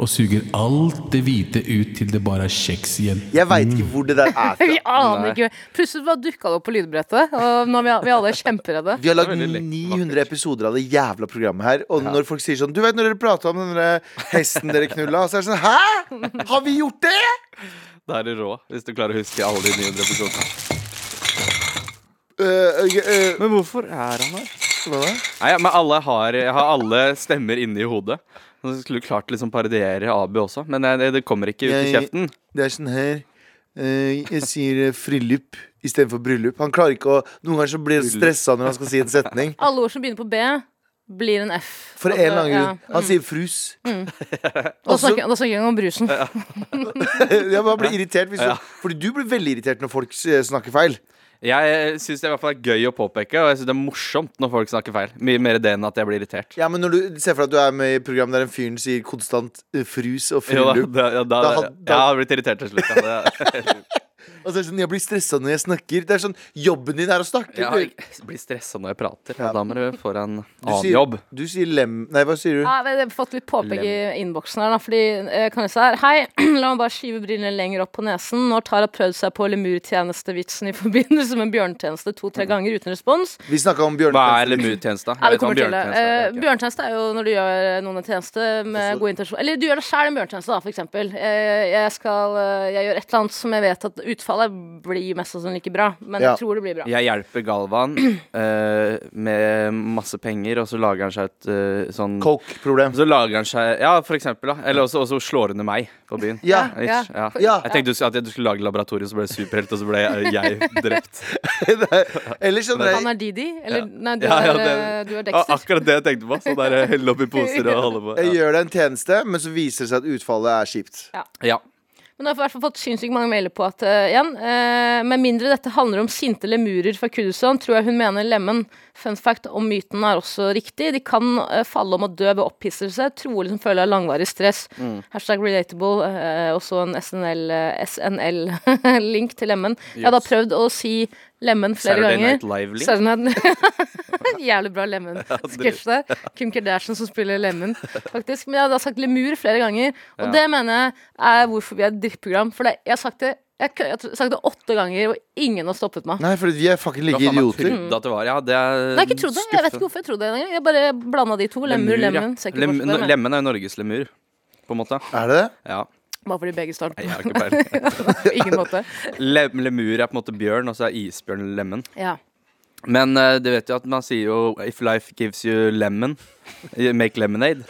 [SPEAKER 6] Og suger alt det hvite ut til det bare er kjeks igjen.
[SPEAKER 4] Jeg veit ikke hvor det der er fra.
[SPEAKER 3] vi aner
[SPEAKER 5] Nei.
[SPEAKER 3] ikke. Plutselig bare dukka det opp på lydbrettet, og nå er vi, vi alle er kjemperedde.
[SPEAKER 4] Vi har lagd
[SPEAKER 5] Det er veldig likt,
[SPEAKER 4] 900 episoder av det jævla programmet her. Og når folk sier sånn Du vet når dere prata om den der hesten dere knulla, så er det sånn Hæ?! Har vi gjort det?!
[SPEAKER 5] Da er du rå, hvis du klarer å huske alle de 900 episodene.
[SPEAKER 4] Øh, øh, øh,
[SPEAKER 5] Men hvorfor er han her?
[SPEAKER 4] hva da?
[SPEAKER 5] Nei, ja, men alle har, Jeg har alle stemmer inni hodet. Så skulle du klart å liksom parodiere Abu også, men det, det- det kommer ikke ut i
[SPEAKER 4] Jeg-
[SPEAKER 5] kjeften.
[SPEAKER 4] Det er sånn her eh, Jeg sier eh, frillup istedenfor bryllup. Han klarer ikke å Noen ganger så blir han stressa når han skal si en setning.
[SPEAKER 3] Alle ord som begynner på B, blir en F.
[SPEAKER 4] For
[SPEAKER 3] Og
[SPEAKER 4] en
[SPEAKER 3] så-
[SPEAKER 4] eller annen
[SPEAKER 3] ja.
[SPEAKER 4] grunn. Han sier frus.
[SPEAKER 3] Da snakker da snakker jeg om brusen.
[SPEAKER 4] Jeg bare blir irritert hvis du, Fordi du blir veldig irritert når folk eh, snakker feil.
[SPEAKER 5] Jeg syns det i hvert fall er gøy å påpeke, og jeg synes det er morsomt når folk snakker feil. Mye mer det enn at jeg blir irritert.
[SPEAKER 4] Ja, men når du ser for deg at du er med i et program der en fyren sier konstant eh, frus og
[SPEAKER 5] Jo, da,
[SPEAKER 4] frillup
[SPEAKER 5] da, ja, da,
[SPEAKER 4] Da
[SPEAKER 5] da,
[SPEAKER 4] had- da-
[SPEAKER 5] jeg har blitt irritert til slutt. Ja. Det,
[SPEAKER 4] Og så er det sånn, jeg blir stressa når jeg snakker. Det er sånn, Jobben din er å snakke.
[SPEAKER 5] jeg,
[SPEAKER 4] du,
[SPEAKER 5] har- blir stressa når jeg prater.
[SPEAKER 4] Ja.
[SPEAKER 5] Da må du få deg en
[SPEAKER 4] du,
[SPEAKER 5] annen
[SPEAKER 4] sier,
[SPEAKER 5] jobb.
[SPEAKER 4] du sier lem... Nei, hva sier du?
[SPEAKER 3] Ja, men jeg har fått litt påpekk i innboksen her, da, fordi eh, kan jeg si her Hei, la meg bare skyve brillene lenger opp på nesen. Når Tara prøvde seg på lemurtjenestevitsen i forbindelse med bjørnetjeneste to-tre ganger uten respons.
[SPEAKER 4] Vi snakka om Bjørn
[SPEAKER 5] Hva er lemurtjeneste?
[SPEAKER 3] Mm. Ja, vi
[SPEAKER 5] Jeg vet hva
[SPEAKER 3] kommer til det.
[SPEAKER 5] bjørnetjeneste
[SPEAKER 3] Eh,
[SPEAKER 5] er, ok.
[SPEAKER 3] Bjørnetjeneste er jo når du gjør eh, noen en tjeneste med god intensjon. Eller du gjør det sjøl en bjørnetjeneste, da, for eksempel. Eh, jeg skal eh, Jeg gjør et eller annet som jeg vet at utfallet blir mest sannsynlig ikke bra, men
[SPEAKER 4] Ja.
[SPEAKER 3] jeg tror det blir bra.
[SPEAKER 5] Jeg hjelper Galvan eh, med masse penger, og så lager han seg et eh, sånn
[SPEAKER 4] Coke-problem.
[SPEAKER 5] Så lager han seg Ja, for eksempel, da. Eller også, også slår under meg på byen.
[SPEAKER 4] Ja.
[SPEAKER 5] Ish, ja.
[SPEAKER 4] Ja.
[SPEAKER 5] Jeg tenkte du, at du skulle lage laboratorium, så ble jeg superhelt, og så ble jeg, jeg drept.
[SPEAKER 4] Eller sånn
[SPEAKER 3] Han
[SPEAKER 4] jeg,
[SPEAKER 3] er Didi, eller nei, du,
[SPEAKER 5] Ja, ja,
[SPEAKER 3] er, eh,
[SPEAKER 5] det-
[SPEAKER 3] du er
[SPEAKER 5] Ah,
[SPEAKER 3] Dexter.
[SPEAKER 5] akkurat det jeg tenkte på. Sånn der eh, helle opp i poser og holde på.
[SPEAKER 4] jeg
[SPEAKER 5] Ja.
[SPEAKER 4] gjør deg en tjeneste, men så viser det seg at utfallet er kjipt.
[SPEAKER 5] Ja.
[SPEAKER 3] Men nå har jeg i hvert fall fått sinnssykt mange mailer på at eh, igjen eh, Med mindre dette handler om sinte lemurer fra Kurdistan, tror jeg hun mener lemen. Fun fact om myten er også riktig. De kan eh, falle om å dø ved opphisselse, trolig som følge av langvarig stress.
[SPEAKER 5] Mm.
[SPEAKER 3] Hashtag relatable. eh, også en SNL-link til lemen. Jeg har da prøvd å si lemen flere
[SPEAKER 5] Saturday
[SPEAKER 3] ganger.
[SPEAKER 5] Night liksom. Lively.
[SPEAKER 3] Saturday Night- Jævlig bra Lemen-sketsj der. Kim Kardashian som spiller Lemen, faktisk. Men jeg har da sagt lemur flere ganger, og det mener jeg er hvorfor vi er et drittprogram. For det, jeg har sagt det jeg, kø- jeg har sagt det åtte ganger, og ingen har stoppet meg.
[SPEAKER 4] Nei, for vi er fucking
[SPEAKER 5] Hva
[SPEAKER 4] like
[SPEAKER 5] faen, jeg
[SPEAKER 4] idioter.
[SPEAKER 5] trodde at det var Ja, det er
[SPEAKER 3] Nei, jeg, ikke trodd det. jeg vet ikke hvorfor jeg trodde det engang. Jeg bare blanda de to. Lemur,
[SPEAKER 5] ja.
[SPEAKER 3] lemen. Ser ikke
[SPEAKER 5] Lem,
[SPEAKER 3] forskjell på det, men-
[SPEAKER 5] lemmen er jo Norges lemur, på en måte.
[SPEAKER 4] Er det det?
[SPEAKER 5] Ja.
[SPEAKER 3] Bare fordi begge står
[SPEAKER 5] Nei, jeg har ikke peiling.
[SPEAKER 3] på ingen måte.
[SPEAKER 5] Lem, lemur er på en måte bjørn, og så er isbjørn lemen.
[SPEAKER 3] Ja.
[SPEAKER 5] Men eh, du vet jo at man sier jo 'if life gives you lemon, you make lemonade'.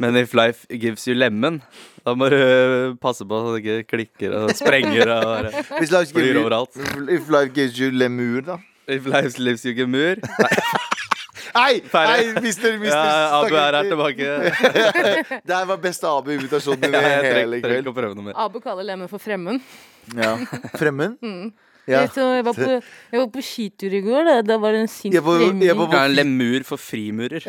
[SPEAKER 5] Men 'if life gives you lemon', da må du eh, passe på så det ikke klikker og sprenger. Og bare.
[SPEAKER 4] Hvis life gives
[SPEAKER 5] Blir
[SPEAKER 4] you-
[SPEAKER 5] overalt.
[SPEAKER 4] If life gives you lemur, da.
[SPEAKER 5] If life gives you gemur
[SPEAKER 4] Nei,
[SPEAKER 5] Ferdig.
[SPEAKER 4] nei, mister, mister
[SPEAKER 5] ja, Abu er her
[SPEAKER 4] stakkars-
[SPEAKER 5] tilbake.
[SPEAKER 4] Der var beste Abu-invitasjonen din
[SPEAKER 5] Ja,
[SPEAKER 4] i
[SPEAKER 5] jeg trenger
[SPEAKER 4] hele
[SPEAKER 5] trenger
[SPEAKER 4] kveld.
[SPEAKER 5] ikke å prøve noe mer.
[SPEAKER 3] Abu kaller lemen for fremmen.
[SPEAKER 4] Ja. Fremmen? Ja.
[SPEAKER 3] Jeg, vet, jeg, var på, jeg var på skitur i går, da. Da var det en sint
[SPEAKER 4] Jeg var- jeg
[SPEAKER 3] lemur.
[SPEAKER 4] var-
[SPEAKER 5] Ja, lemur for frimurer.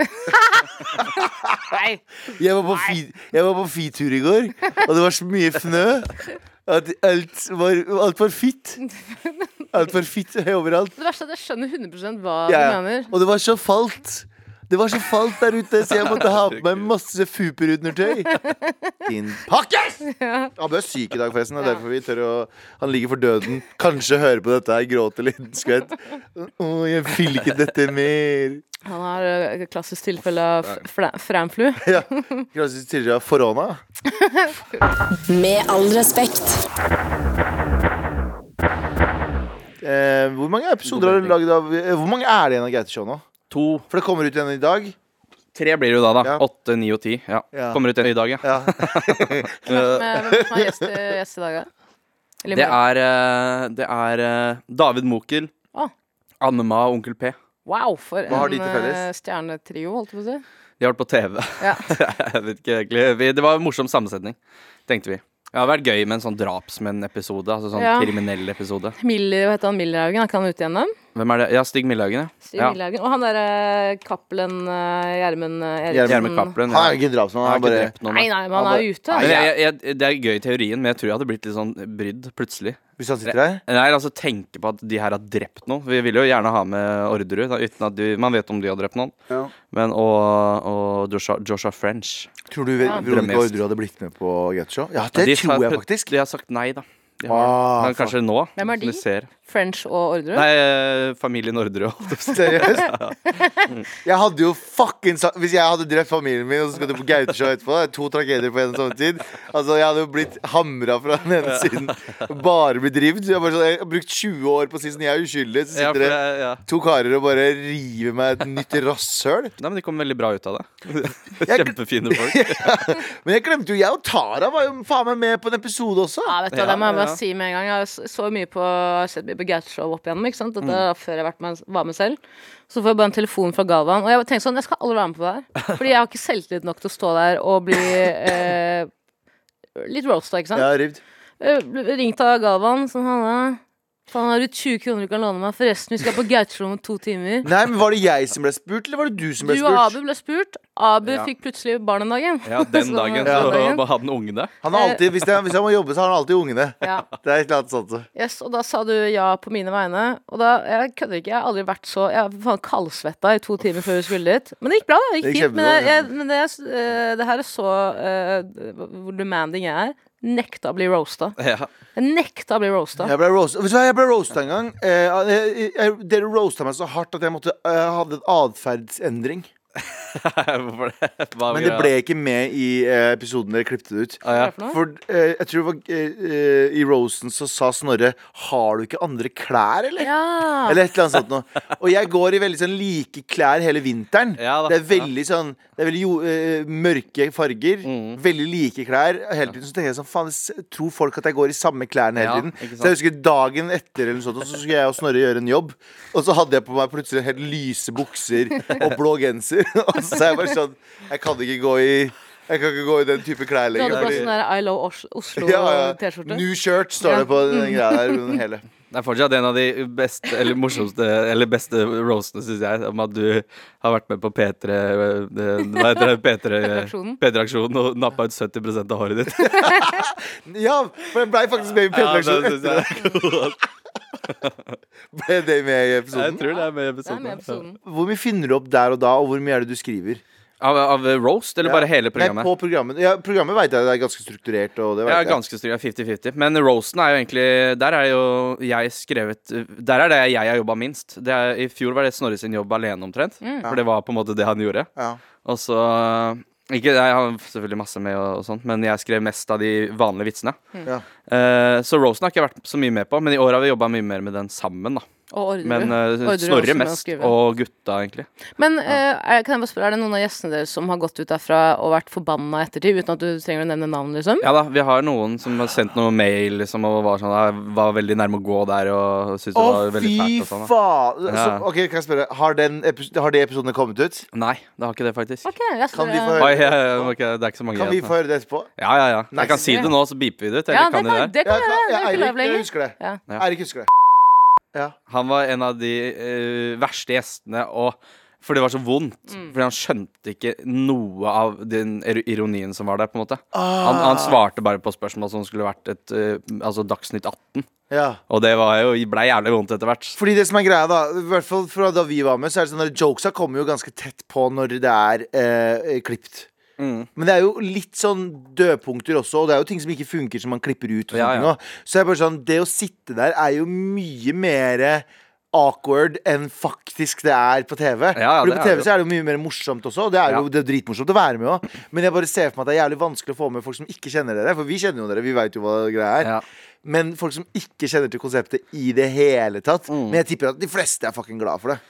[SPEAKER 3] Nei.
[SPEAKER 4] Jeg var, på fi, jeg var på fitur i går, og det var så mye fnø at alt var, alt var fitt. Alt var fitt overalt.
[SPEAKER 3] Det verste er at jeg skjønner 100 hva
[SPEAKER 4] Ja,
[SPEAKER 3] du mener.
[SPEAKER 4] Og det var så falt. Det var så falt der ute, så jeg måtte ha på meg masse fuperundertøy. Din pakkes! Abu er syk i dag, forresten. Det er derfor vi tør å Han ligger for døden. Kanskje hører på dette her, gråter litt, skvett. Å, jeg vil ikke dette mer.
[SPEAKER 3] Han har eh, klassisk tilfelle av f- fla- framflu.
[SPEAKER 4] Ja. Kanskje tidligere av korona.
[SPEAKER 1] Med all respekt.
[SPEAKER 4] Eh, hvor mange episoder har du laget av eh, Hvor mange er det igjen av Gaute Show nå?
[SPEAKER 5] To.
[SPEAKER 4] For det kommer ut igjen i dag.
[SPEAKER 5] Tre blir det jo da, da.
[SPEAKER 4] Ja.
[SPEAKER 5] Åtte, ni og ti. Ja.
[SPEAKER 4] Ja.
[SPEAKER 5] Kommer ut i dag, ja.
[SPEAKER 4] Ja.
[SPEAKER 5] Eh,
[SPEAKER 3] Men Hvem som er gjest, gjest i dag, da? Eller i
[SPEAKER 5] Det
[SPEAKER 3] morgen?
[SPEAKER 5] er, eh, det er eh, David Mokel,
[SPEAKER 3] Ah.
[SPEAKER 5] Annema og Onkel P.
[SPEAKER 3] Wow, for
[SPEAKER 4] Hva har de
[SPEAKER 3] en
[SPEAKER 4] til felles?
[SPEAKER 3] eh, stjernetrio, holdt jeg på å si.
[SPEAKER 5] De har vært på TV.
[SPEAKER 3] Ja.
[SPEAKER 5] jeg vet ikke egentlig vi, Det var en morsom sammensetning, tenkte vi. Det hadde vært gøy med en sånn drapsmenn-episode. Altså sånn
[SPEAKER 3] Ja.
[SPEAKER 5] kriminell episode.
[SPEAKER 3] Miller, hva heter han Millerhaugen? Er ikke han ute igjen, da?
[SPEAKER 5] Hvem er det? Ja, Stig Millhaugen, ja.
[SPEAKER 3] Stig Millerhaugen. Og han derre Cappelen eh, Gjermund eh,
[SPEAKER 4] Gjermund
[SPEAKER 5] Gjermund
[SPEAKER 3] Eriksen.
[SPEAKER 5] Cappelen.
[SPEAKER 4] Han
[SPEAKER 5] Ja.
[SPEAKER 4] er ikke drapsmann.
[SPEAKER 5] Han har
[SPEAKER 4] Han
[SPEAKER 5] ikke
[SPEAKER 4] bare
[SPEAKER 5] drept noen.
[SPEAKER 3] Nei,
[SPEAKER 5] da.
[SPEAKER 3] nei, men han
[SPEAKER 4] Han
[SPEAKER 3] er jo ute.
[SPEAKER 5] Men jeg, jeg, det er gøy i teorien, men jeg tror jeg hadde blitt litt sånn brydd plutselig.
[SPEAKER 4] Hvis han sitter her.
[SPEAKER 5] Nei, altså tenke på at de her har drept noen. Vi vil jo gjerne ha med Orderud, da, uten at de, man vet om de har drept noen.
[SPEAKER 4] Ja.
[SPEAKER 5] Men, og og Joshua, Joshua French.
[SPEAKER 4] Tror du Ve- Veronica
[SPEAKER 5] Drømmegjest.
[SPEAKER 4] Orderud hadde blitt med på Gutshov? Ja, det
[SPEAKER 5] de
[SPEAKER 4] tror
[SPEAKER 5] har-
[SPEAKER 4] jeg faktisk.
[SPEAKER 5] De har sagt nei, da. De har,
[SPEAKER 4] Ah,
[SPEAKER 5] men kanskje nå.
[SPEAKER 3] Hvem er
[SPEAKER 5] som
[SPEAKER 3] de?
[SPEAKER 5] ser.
[SPEAKER 3] French og Orderud.
[SPEAKER 5] Nei, eh, familien Orderud. holdt jeg på å si.
[SPEAKER 4] Seriøst? Jeg hadde jo fucking sa- Hvis jeg hadde drept familien min, og så skulle du på Gauteshow etterpå det er To tragedier på en og samme tid. Altså, Jeg hadde jo blitt hamra fra den ene siden. Bare blitt revet. Jeg, bare sånn, jeg har brukt 20 år på å si sånn, jeg er uskyldig. Så
[SPEAKER 5] Ja, for
[SPEAKER 4] sitter det
[SPEAKER 5] jeg- ja.
[SPEAKER 4] to karer og bare river meg et nytt rasshøl.
[SPEAKER 5] Nei, men de kom veldig bra ut av det.
[SPEAKER 4] Jeg-
[SPEAKER 5] Kjempefine folk.
[SPEAKER 4] Men jeg glemte jo, jeg og Tara var jo faen meg med på en episode også.
[SPEAKER 3] Ja, vet du, hva,
[SPEAKER 5] Ja,
[SPEAKER 3] det må jeg bare
[SPEAKER 5] ja.
[SPEAKER 3] si med en gang. Jeg har s- så mye på, jeg har sett mye på Gatshow opp igjennom. ikke sant? Dette
[SPEAKER 5] Mm.
[SPEAKER 3] er før jeg har vært med, var med selv. Så får jeg bare en telefon fra Galvan, og jeg tenkte sånn Jeg skal aldri være med på det her. Fordi jeg har ikke selvtillit nok til å stå der og bli eh, litt roasta, ikke sant.
[SPEAKER 4] Ja, rivd.
[SPEAKER 3] Eh, ble Ringt av Galvan, sånn Hanne. Faen, har du 20 kroner du kan låne meg? Forresten, vi skal på Gatshow om to timer.
[SPEAKER 4] Nei, men Var det jeg som ble spurt, eller var det du som
[SPEAKER 3] Du
[SPEAKER 4] ble
[SPEAKER 3] og
[SPEAKER 4] spurt?
[SPEAKER 3] Abu ble spurt. Abu
[SPEAKER 5] Ja.
[SPEAKER 3] fikk plutselig barn den dagen.
[SPEAKER 5] Ja, den dagen
[SPEAKER 3] Ja.
[SPEAKER 5] så bare hadde den ungen det.
[SPEAKER 4] Han har alltid, hvis, det, er- hvis han må jobbe, så har han alltid ungene.
[SPEAKER 3] Ja.
[SPEAKER 4] Det er et eller annet sånt. så.
[SPEAKER 3] Yes, og da sa du ja på mine vegne. Og da, jeg kødder ikke, jeg har aldri vært så Jeg har faen kaldsvetta i to timer før vi skulle dit. Men det gikk bra, da. Det gikk
[SPEAKER 4] Det gikk
[SPEAKER 3] fint. Men,
[SPEAKER 4] kjempebra,
[SPEAKER 3] jeg, jeg, men det, jeg- eh, det her er så eh, hvor demanding jeg er. Nekta å bli roasta.
[SPEAKER 5] Ja.
[SPEAKER 3] Jeg nekta å bli roasta.
[SPEAKER 4] Jeg ble roast, vet du hva, jeg ble roasta en gang. Eh, jeg, jeg, dere roasta meg så hardt at jeg måtte Jeg hadde en atferdsendring.
[SPEAKER 5] Hvorfor det? Hva var
[SPEAKER 4] Men det
[SPEAKER 5] greia?
[SPEAKER 4] ble ikke med i eh, episoden dere klippte det ut.
[SPEAKER 5] ah, ja.
[SPEAKER 4] For eh, jeg tror det var eh, eh, i Rosen så sa Snorre Har du ikke andre klær, eller?
[SPEAKER 3] Ja.
[SPEAKER 4] Eller et eller annet sånt noe. Og jeg går i veldig sånn like klær hele vinteren.
[SPEAKER 5] Ja Mm. da,
[SPEAKER 4] det er veldig sånn Det er veldig jo, eh, mørke farger. Veldig like klær. Og Hele tiden så tenker jeg sånn Faen, s- tror folk at jeg går i samme klærne hele
[SPEAKER 5] Ja,
[SPEAKER 4] tiden?
[SPEAKER 5] ikke sant.
[SPEAKER 4] Så jeg husker dagen etter eller noe sånt, og så skulle jeg og Snorre gjøre en jobb. Og så hadde jeg på meg plutselig helt lyse bukser og blå genser. Og så sa jeg bare sånn Jeg kan ikke gå i Jeg kan ikke gå i den type klær
[SPEAKER 3] Du
[SPEAKER 4] lenger.
[SPEAKER 3] hadde på
[SPEAKER 4] fordi-
[SPEAKER 3] sånn der I Love Os- Oslo-T-skjorte.
[SPEAKER 4] New shirt står det på
[SPEAKER 5] Mm.
[SPEAKER 4] den greia der. den hele
[SPEAKER 5] Det er fortsatt en av de beste eller morsomste eller beste roastene, syns jeg, om at du har vært med på P3 eh, Hva heter det? P3-aksjonen
[SPEAKER 3] P3-aksjonen.
[SPEAKER 5] og nappa ut 70 av håret ditt.
[SPEAKER 4] Ja, for jeg blei faktisk med i
[SPEAKER 5] Ja, det
[SPEAKER 4] P3-aksjonen.
[SPEAKER 5] synes jeg.
[SPEAKER 4] Ble det med i
[SPEAKER 5] jeg
[SPEAKER 4] episoden?
[SPEAKER 5] tror det er med
[SPEAKER 3] Det er med i
[SPEAKER 5] i episoden.
[SPEAKER 3] episoden.
[SPEAKER 4] Hvor mye finner du opp der og da, og hvor mye er det du skriver?
[SPEAKER 5] Av, av roast, eller bare
[SPEAKER 4] Nei,
[SPEAKER 5] hele programmet?
[SPEAKER 4] på programmet ja, Programmet vet jeg det er ganske strukturert. Og det vet
[SPEAKER 5] Ja,
[SPEAKER 4] jeg.
[SPEAKER 5] ganske stygg. 50-50. Men roasten er jo egentlig Der er jo jeg skrevet Der er det jeg har jobba minst. Det er, I fjor var det Snorre sin jobb alene, omtrent.
[SPEAKER 3] Mm.
[SPEAKER 5] For det var på en måte det han gjorde.
[SPEAKER 4] Ja.
[SPEAKER 5] Og så eh, ikke, Jeg har selvfølgelig masse med, og, og sånt men jeg skrev mest av de vanlige vitsene.
[SPEAKER 3] Mm.
[SPEAKER 4] Ja.
[SPEAKER 5] Eh, så roasten har ikke jeg vært så mye med på, men i år har vi jobba mye mer med den sammen. da
[SPEAKER 3] Og Orderud.
[SPEAKER 5] Men eh,
[SPEAKER 3] Orderud er Mm. også med
[SPEAKER 5] Snorre
[SPEAKER 3] å
[SPEAKER 5] mest,
[SPEAKER 3] skrive.
[SPEAKER 5] og gutta, egentlig.
[SPEAKER 3] Men eh, er, kan jeg bare spørre, er det noen av gjestene deres som har gått ut derfra og vært forbanna ettertid, uten at du trenger å nevne navn, liksom?
[SPEAKER 5] Ja da, Vi har noen som har sendt noe mail liksom, og var, sånn, «Jeg var veldig nærme å gå der og syntes det
[SPEAKER 4] Å,
[SPEAKER 5] var veldig
[SPEAKER 4] fy
[SPEAKER 5] fælt. og sånn da.
[SPEAKER 4] faen! Så,
[SPEAKER 5] Ja.
[SPEAKER 4] ok, kan jeg spørre Har, den epi- har de episodene kommet ut?
[SPEAKER 5] Nei, det har ikke det, faktisk.
[SPEAKER 3] Ok, jeg
[SPEAKER 4] Kan vi få
[SPEAKER 3] skal-
[SPEAKER 5] Oi,
[SPEAKER 4] høre,
[SPEAKER 5] jeg, jeg må ikke, det er ikke så mange
[SPEAKER 4] kan vi
[SPEAKER 5] igjen,
[SPEAKER 4] få høre det etterpå?
[SPEAKER 5] da. Ja, ja, ja.
[SPEAKER 4] Nice.
[SPEAKER 5] Jeg kan si det nå, så beeper vi det ut. Eller
[SPEAKER 3] Ja, det
[SPEAKER 5] kan
[SPEAKER 3] kan,
[SPEAKER 5] dere det?
[SPEAKER 3] det kan
[SPEAKER 4] Ja,
[SPEAKER 3] jeg. Det
[SPEAKER 4] ja,
[SPEAKER 3] er ikke lov
[SPEAKER 4] Eirik jeg
[SPEAKER 3] lenger.
[SPEAKER 4] husker det.
[SPEAKER 3] Ja.
[SPEAKER 5] Ja.
[SPEAKER 4] Eirik husker det. Ja.
[SPEAKER 5] Han var en av de eh, verste gjestene, og for det var så vondt.
[SPEAKER 4] Mm.
[SPEAKER 5] Fordi han skjønte ikke noe av den er- ironien som var der. på en måte han,
[SPEAKER 4] Ah.
[SPEAKER 5] han svarte bare på spørsmål som skulle vært et eh, Altså Dagsnytt 18.
[SPEAKER 4] ja.
[SPEAKER 5] Og det var jo, ble jævlig vondt etter hvert.
[SPEAKER 4] Fordi det som er greia da I hvert fall fra da vi var med Så er det sånn at Jokesa kommer jo ganske tett på Når det er eh, klippt
[SPEAKER 5] Mm.
[SPEAKER 4] Men det er jo litt sånn dødpunkter også Og det er jo ting som ikke funker Som man klipper ut og sånne
[SPEAKER 5] Ja,
[SPEAKER 4] ting
[SPEAKER 5] ja.
[SPEAKER 4] også. Så jeg bare sånn Det å sitte der er jo mye mer awkward Enn faktisk det er på TV
[SPEAKER 5] ja,
[SPEAKER 4] Fordi på
[SPEAKER 5] det er
[SPEAKER 4] TV
[SPEAKER 5] det
[SPEAKER 4] så er det jo mye mer morsomt også Og det er jo
[SPEAKER 5] Ja.
[SPEAKER 4] det er dritmorsomt å være med også Men jeg bare ser for meg at det er jævlig vanskelig Å få med folk som ikke kjenner dere For vi kjenner jo dere, vi vet jo hva greia er
[SPEAKER 5] Ja.
[SPEAKER 4] men folk
[SPEAKER 5] Mm.
[SPEAKER 4] som ikke kjenner til konseptet i det hele tatt. Men jeg tipper at de fleste er fucking glad for det.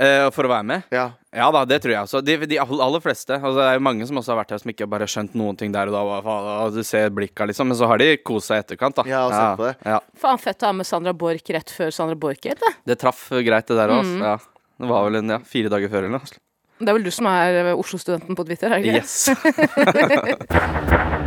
[SPEAKER 5] eh, for å være med?
[SPEAKER 4] Ja.
[SPEAKER 5] Ja da, det tror jeg også. De, de all- aller fleste. Altså, det er jo mange som også har vært her som ikke bare har skjønt noen ting der og da. hva faen, og Du ser blikka, liksom. Men så har de kost seg i etterkant, da.
[SPEAKER 4] Ja, og sett på det.
[SPEAKER 5] Ja,
[SPEAKER 3] Faen fett å ha med Sandra Borch rett før Sandra Borch het, det.
[SPEAKER 5] det traff eh, greit, det der òg.
[SPEAKER 4] Mm.
[SPEAKER 5] Ja. Det var vel en, ja, fire dager før eller noe.
[SPEAKER 3] Det er vel du som er eh, Oslo-studenten på Twitter? Er det ikke? det?
[SPEAKER 5] Yes.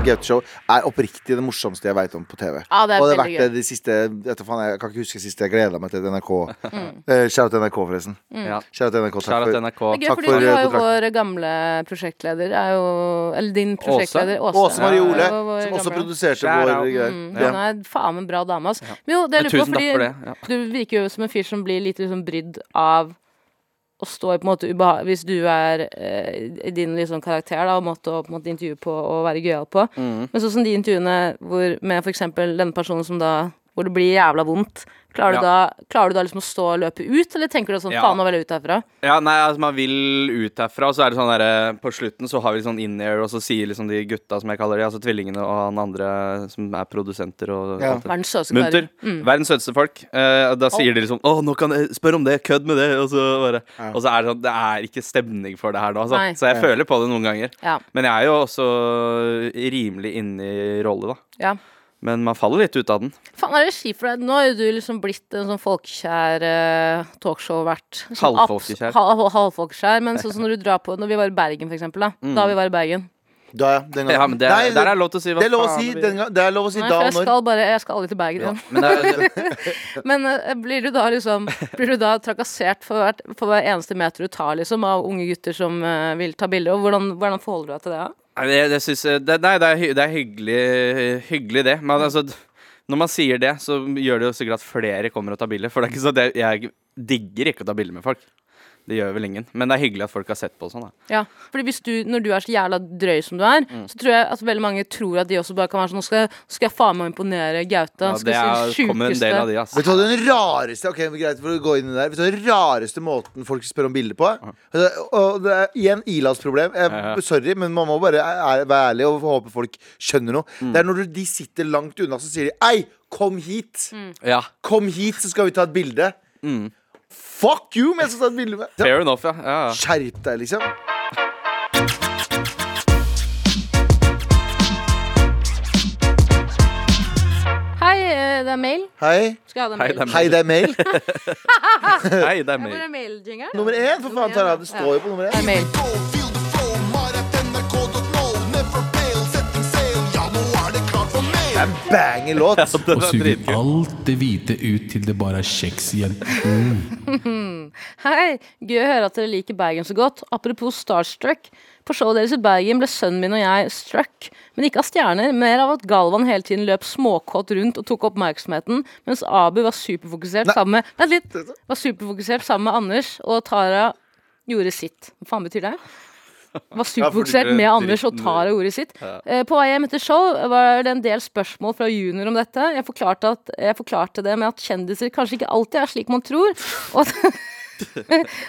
[SPEAKER 4] Gauteshow er oppriktig det morsomste jeg veit om på TV.
[SPEAKER 3] Ja, det er
[SPEAKER 4] og det har
[SPEAKER 3] veldig
[SPEAKER 4] vært det de siste vet du faen, Jeg kan ikke huske sist jeg gleda meg til et NRK.
[SPEAKER 3] Mm.
[SPEAKER 4] Eh, Shout til NRK, forresten.
[SPEAKER 5] Ja.
[SPEAKER 4] Shout til NRK.
[SPEAKER 5] Shout
[SPEAKER 4] Takk
[SPEAKER 5] out
[SPEAKER 4] for
[SPEAKER 5] til NRK.
[SPEAKER 3] Det er gøy,
[SPEAKER 4] Takk
[SPEAKER 3] fordi du
[SPEAKER 4] for, eh,
[SPEAKER 3] har jo
[SPEAKER 4] kontrakten.
[SPEAKER 3] vår gamle prosjektleder er jo Eller din prosjektleder, Åse.
[SPEAKER 4] Åse Marie
[SPEAKER 3] er jo
[SPEAKER 4] Ole,
[SPEAKER 3] vår
[SPEAKER 4] som også
[SPEAKER 3] gamle.
[SPEAKER 4] produserte
[SPEAKER 5] Shout
[SPEAKER 4] vår
[SPEAKER 5] out.
[SPEAKER 4] greier.
[SPEAKER 3] Mm,
[SPEAKER 4] Ja.
[SPEAKER 3] Han er faen en bra dame, altså. Men jo, det
[SPEAKER 5] Men
[SPEAKER 3] lurer på,
[SPEAKER 5] tusen
[SPEAKER 3] fordi
[SPEAKER 5] takk for det. Ja.
[SPEAKER 3] du virker jo som en fyr som blir litt liksom brydd av å stå i på en måte ubeha Hvis du er eh, i din liksom karakter da, og måte å på en måte intervjue på og være gøyal på.
[SPEAKER 5] Mm.
[SPEAKER 3] Men sånn som de intervjuene hvor, med for eksempel denne personen som da hvor det blir jævla vondt. Klarer,
[SPEAKER 5] Ja.
[SPEAKER 3] du da, klarer du da liksom å stå og løpe ut, eller tenker du sånn
[SPEAKER 5] Ja.
[SPEAKER 3] faen, nå vil jeg ut herfra?
[SPEAKER 5] Ja, nei, altså man vil ut herfra, og så er det sånn derre På slutten så har vi litt sånn in-air, og så sier liksom de gutta som jeg kaller de, altså tvillingene og han andre som er produsenter og
[SPEAKER 4] Ja.
[SPEAKER 5] alt det.
[SPEAKER 3] Verdens søteste
[SPEAKER 5] Munter.
[SPEAKER 3] Mm.
[SPEAKER 5] Verdens søteste folk. Eh, og da sier de liksom 'Å, nå kan jeg spørre om det. Kødd med det.' Og så bare Og så er det sånn Det er ikke stemning for det her nå, altså.
[SPEAKER 3] Nei.
[SPEAKER 5] Så jeg føler på det noen ganger.
[SPEAKER 3] Ja.
[SPEAKER 5] Men jeg er jo også rimelig inne i rolle, da.
[SPEAKER 3] Ja.
[SPEAKER 5] Men man faller litt ut av den.
[SPEAKER 3] Faen, er det kjipt for deg? Nå har jo du liksom blitt en sånn folkekjær eh, talkshow-vert. Sånn
[SPEAKER 5] Halvfolkekjær.
[SPEAKER 3] abs- hal- hal- Halvfolkekjær. Men sånn som når du drar på Når vi var i Bergen, for eksempel. Da,
[SPEAKER 5] Mm.
[SPEAKER 3] da vi var i Bergen.
[SPEAKER 4] Da, ja, den gangen.
[SPEAKER 5] Ja, men det,
[SPEAKER 4] Nei,
[SPEAKER 5] der er lov til å si hva
[SPEAKER 4] det er lov å
[SPEAKER 5] faen
[SPEAKER 4] si
[SPEAKER 5] vi-
[SPEAKER 4] den gang, Det er lov å si
[SPEAKER 3] Nei,
[SPEAKER 4] da
[SPEAKER 3] for jeg
[SPEAKER 4] og når.
[SPEAKER 3] skal bare Jeg skal aldri til Bergen igjen.
[SPEAKER 5] Men det er,
[SPEAKER 3] Men eh, blir du da liksom Blir du da trakassert for, hvert, for hver eneste meter du tar, liksom, av unge gutter som eh, vil ta bilder? Og hvordan, hvordan forholder du deg til det? da?
[SPEAKER 5] Nei, det, det, synes, jeg- det, nei, det er, hy- det er hyggelig, hyggelig det. Men altså, d- når man sier det, så gjør det jo sikkert at flere kommer og tar bilder. For det er ikke sånn at jeg, jeg digger ikke å ta bilder med folk. Det gjør vel ingen. Men det er hyggelig at folk har sett på og sånn. Da.
[SPEAKER 3] Ja, fordi hvis du, når du er så jævla drøy som du er,
[SPEAKER 5] Mm.
[SPEAKER 3] så tror jeg at veldig mange tror at de også bare kan være sånn Nå skal, jeg- skal jeg faen meg imponere Gaute.
[SPEAKER 5] Ja,
[SPEAKER 3] han skal
[SPEAKER 5] det
[SPEAKER 3] si
[SPEAKER 5] er, kommer en
[SPEAKER 3] sjukeste-
[SPEAKER 5] del av de, altså. ass.
[SPEAKER 4] Vet du hva den rareste Ok, men greit for å gå inn i det der Vet du hva den rareste måten folk spør om bilder på? er? Og det er igjen Ilas problem.
[SPEAKER 5] Ja,
[SPEAKER 4] Jeg,
[SPEAKER 5] ja.
[SPEAKER 4] sorry, men man må bare æ- være ærlig og håpe folk skjønner noe.
[SPEAKER 5] Mm.
[SPEAKER 4] Det er når du- de sitter langt unna, så sier de Ei, kom hit!
[SPEAKER 5] Ja,
[SPEAKER 4] Kom hit, så skal vi ta et bilde. Fuck you, men jeg skal ta et bilde med
[SPEAKER 5] Mm. fair enough, ja. ja, ja.
[SPEAKER 4] Skjerp deg, liksom.
[SPEAKER 3] Hei, eh, det er mail.
[SPEAKER 4] Hei.
[SPEAKER 3] Skal jeg ha den
[SPEAKER 5] Hei,
[SPEAKER 3] mail?
[SPEAKER 5] det er meg.
[SPEAKER 4] Hei, det er mail.
[SPEAKER 5] Nei, det er
[SPEAKER 3] Hvor er
[SPEAKER 5] meg.
[SPEAKER 3] mailjingeren?
[SPEAKER 4] Nummer én, for faen. Tar jeg. av. Det står jo på nummer
[SPEAKER 3] Det
[SPEAKER 4] én.
[SPEAKER 3] er mail.
[SPEAKER 4] Det er en banger låt.
[SPEAKER 5] Den
[SPEAKER 6] Og
[SPEAKER 5] er
[SPEAKER 6] suger
[SPEAKER 5] dritgøy.
[SPEAKER 6] alt det hvite ut til det bare er kjeks igjen.
[SPEAKER 3] Hei, gøy å høre at dere liker Bergen så godt. Apropos Starstruck. På showet deres i Bergen ble sønnen min og jeg struck, men ikke av stjerner, mer av at Galvan hele tiden løp småkåt rundt og tok oppmerksomheten, mens Abu var superfokusert sammen med Vent litt! Var superfokusert sammen med Anders, og Tara gjorde sitt. Hva faen betyr det? Var superfokusert
[SPEAKER 5] ble
[SPEAKER 3] med Anders og
[SPEAKER 5] dritten
[SPEAKER 3] Tara gjorde sitt. Eh, På vei hjem etter show var det en del spørsmål fra junior om dette. Jeg forklarte, at, jeg forklarte det med at kjendiser kanskje ikke alltid er slik man tror, og at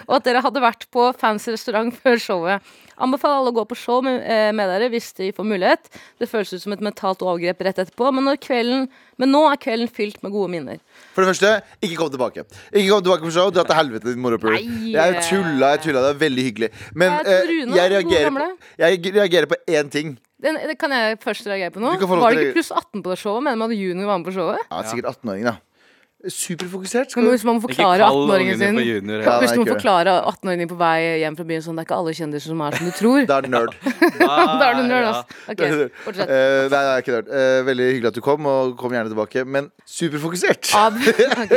[SPEAKER 3] og at dere hadde vært på fancy restaurant før showet. Anbefaler alle å gå på show med, eh, med dere hvis de får mulighet. Det føles ut som et mentalt overgrep rett etterpå, men, når kvelden, men nå er kvelden fylt med gode minner.
[SPEAKER 4] For det første, ikke kom tilbake. Ikke kom tilbake på show. Dra til helvete, din moropuler.
[SPEAKER 3] Nei.
[SPEAKER 4] Jeg tulla, jeg tulla. Det er veldig hyggelig. Men
[SPEAKER 3] Jeg tror
[SPEAKER 4] eh,
[SPEAKER 3] Rune, den gode
[SPEAKER 4] jeg, reagerer på,
[SPEAKER 3] gamle.
[SPEAKER 4] jeg reagerer på én ting.
[SPEAKER 3] Den, det kan jeg først reagere på nå.
[SPEAKER 4] Du kan få lov
[SPEAKER 3] Var
[SPEAKER 4] til
[SPEAKER 3] det
[SPEAKER 4] å-
[SPEAKER 3] ikke pluss 18 på det showet? Mener man at junior var med på showet?
[SPEAKER 4] Ja, sikkert 18-åring, da. Superfokusert.
[SPEAKER 3] Men
[SPEAKER 4] Skal du
[SPEAKER 3] hvis man må
[SPEAKER 5] Ikke
[SPEAKER 3] forklare
[SPEAKER 5] kall
[SPEAKER 3] 18-åringen
[SPEAKER 5] ungene
[SPEAKER 3] sin
[SPEAKER 5] for junior.
[SPEAKER 4] Ja,
[SPEAKER 5] Ja.
[SPEAKER 3] Hvis
[SPEAKER 4] nei,
[SPEAKER 3] du må
[SPEAKER 4] ikke det.
[SPEAKER 3] forklare 18-åringen på vei hjem fra byen sånn Det er ikke alle kjendiser som er som du tror.
[SPEAKER 4] Da er det nerd.
[SPEAKER 3] da er du altså. nerd, ass. Ok,
[SPEAKER 4] Eh,
[SPEAKER 3] fortsett.
[SPEAKER 4] nei, det er ikke nerd. Eh, veldig hyggelig at du kom, og kom gjerne tilbake. Men superfokusert.
[SPEAKER 3] Ab ok.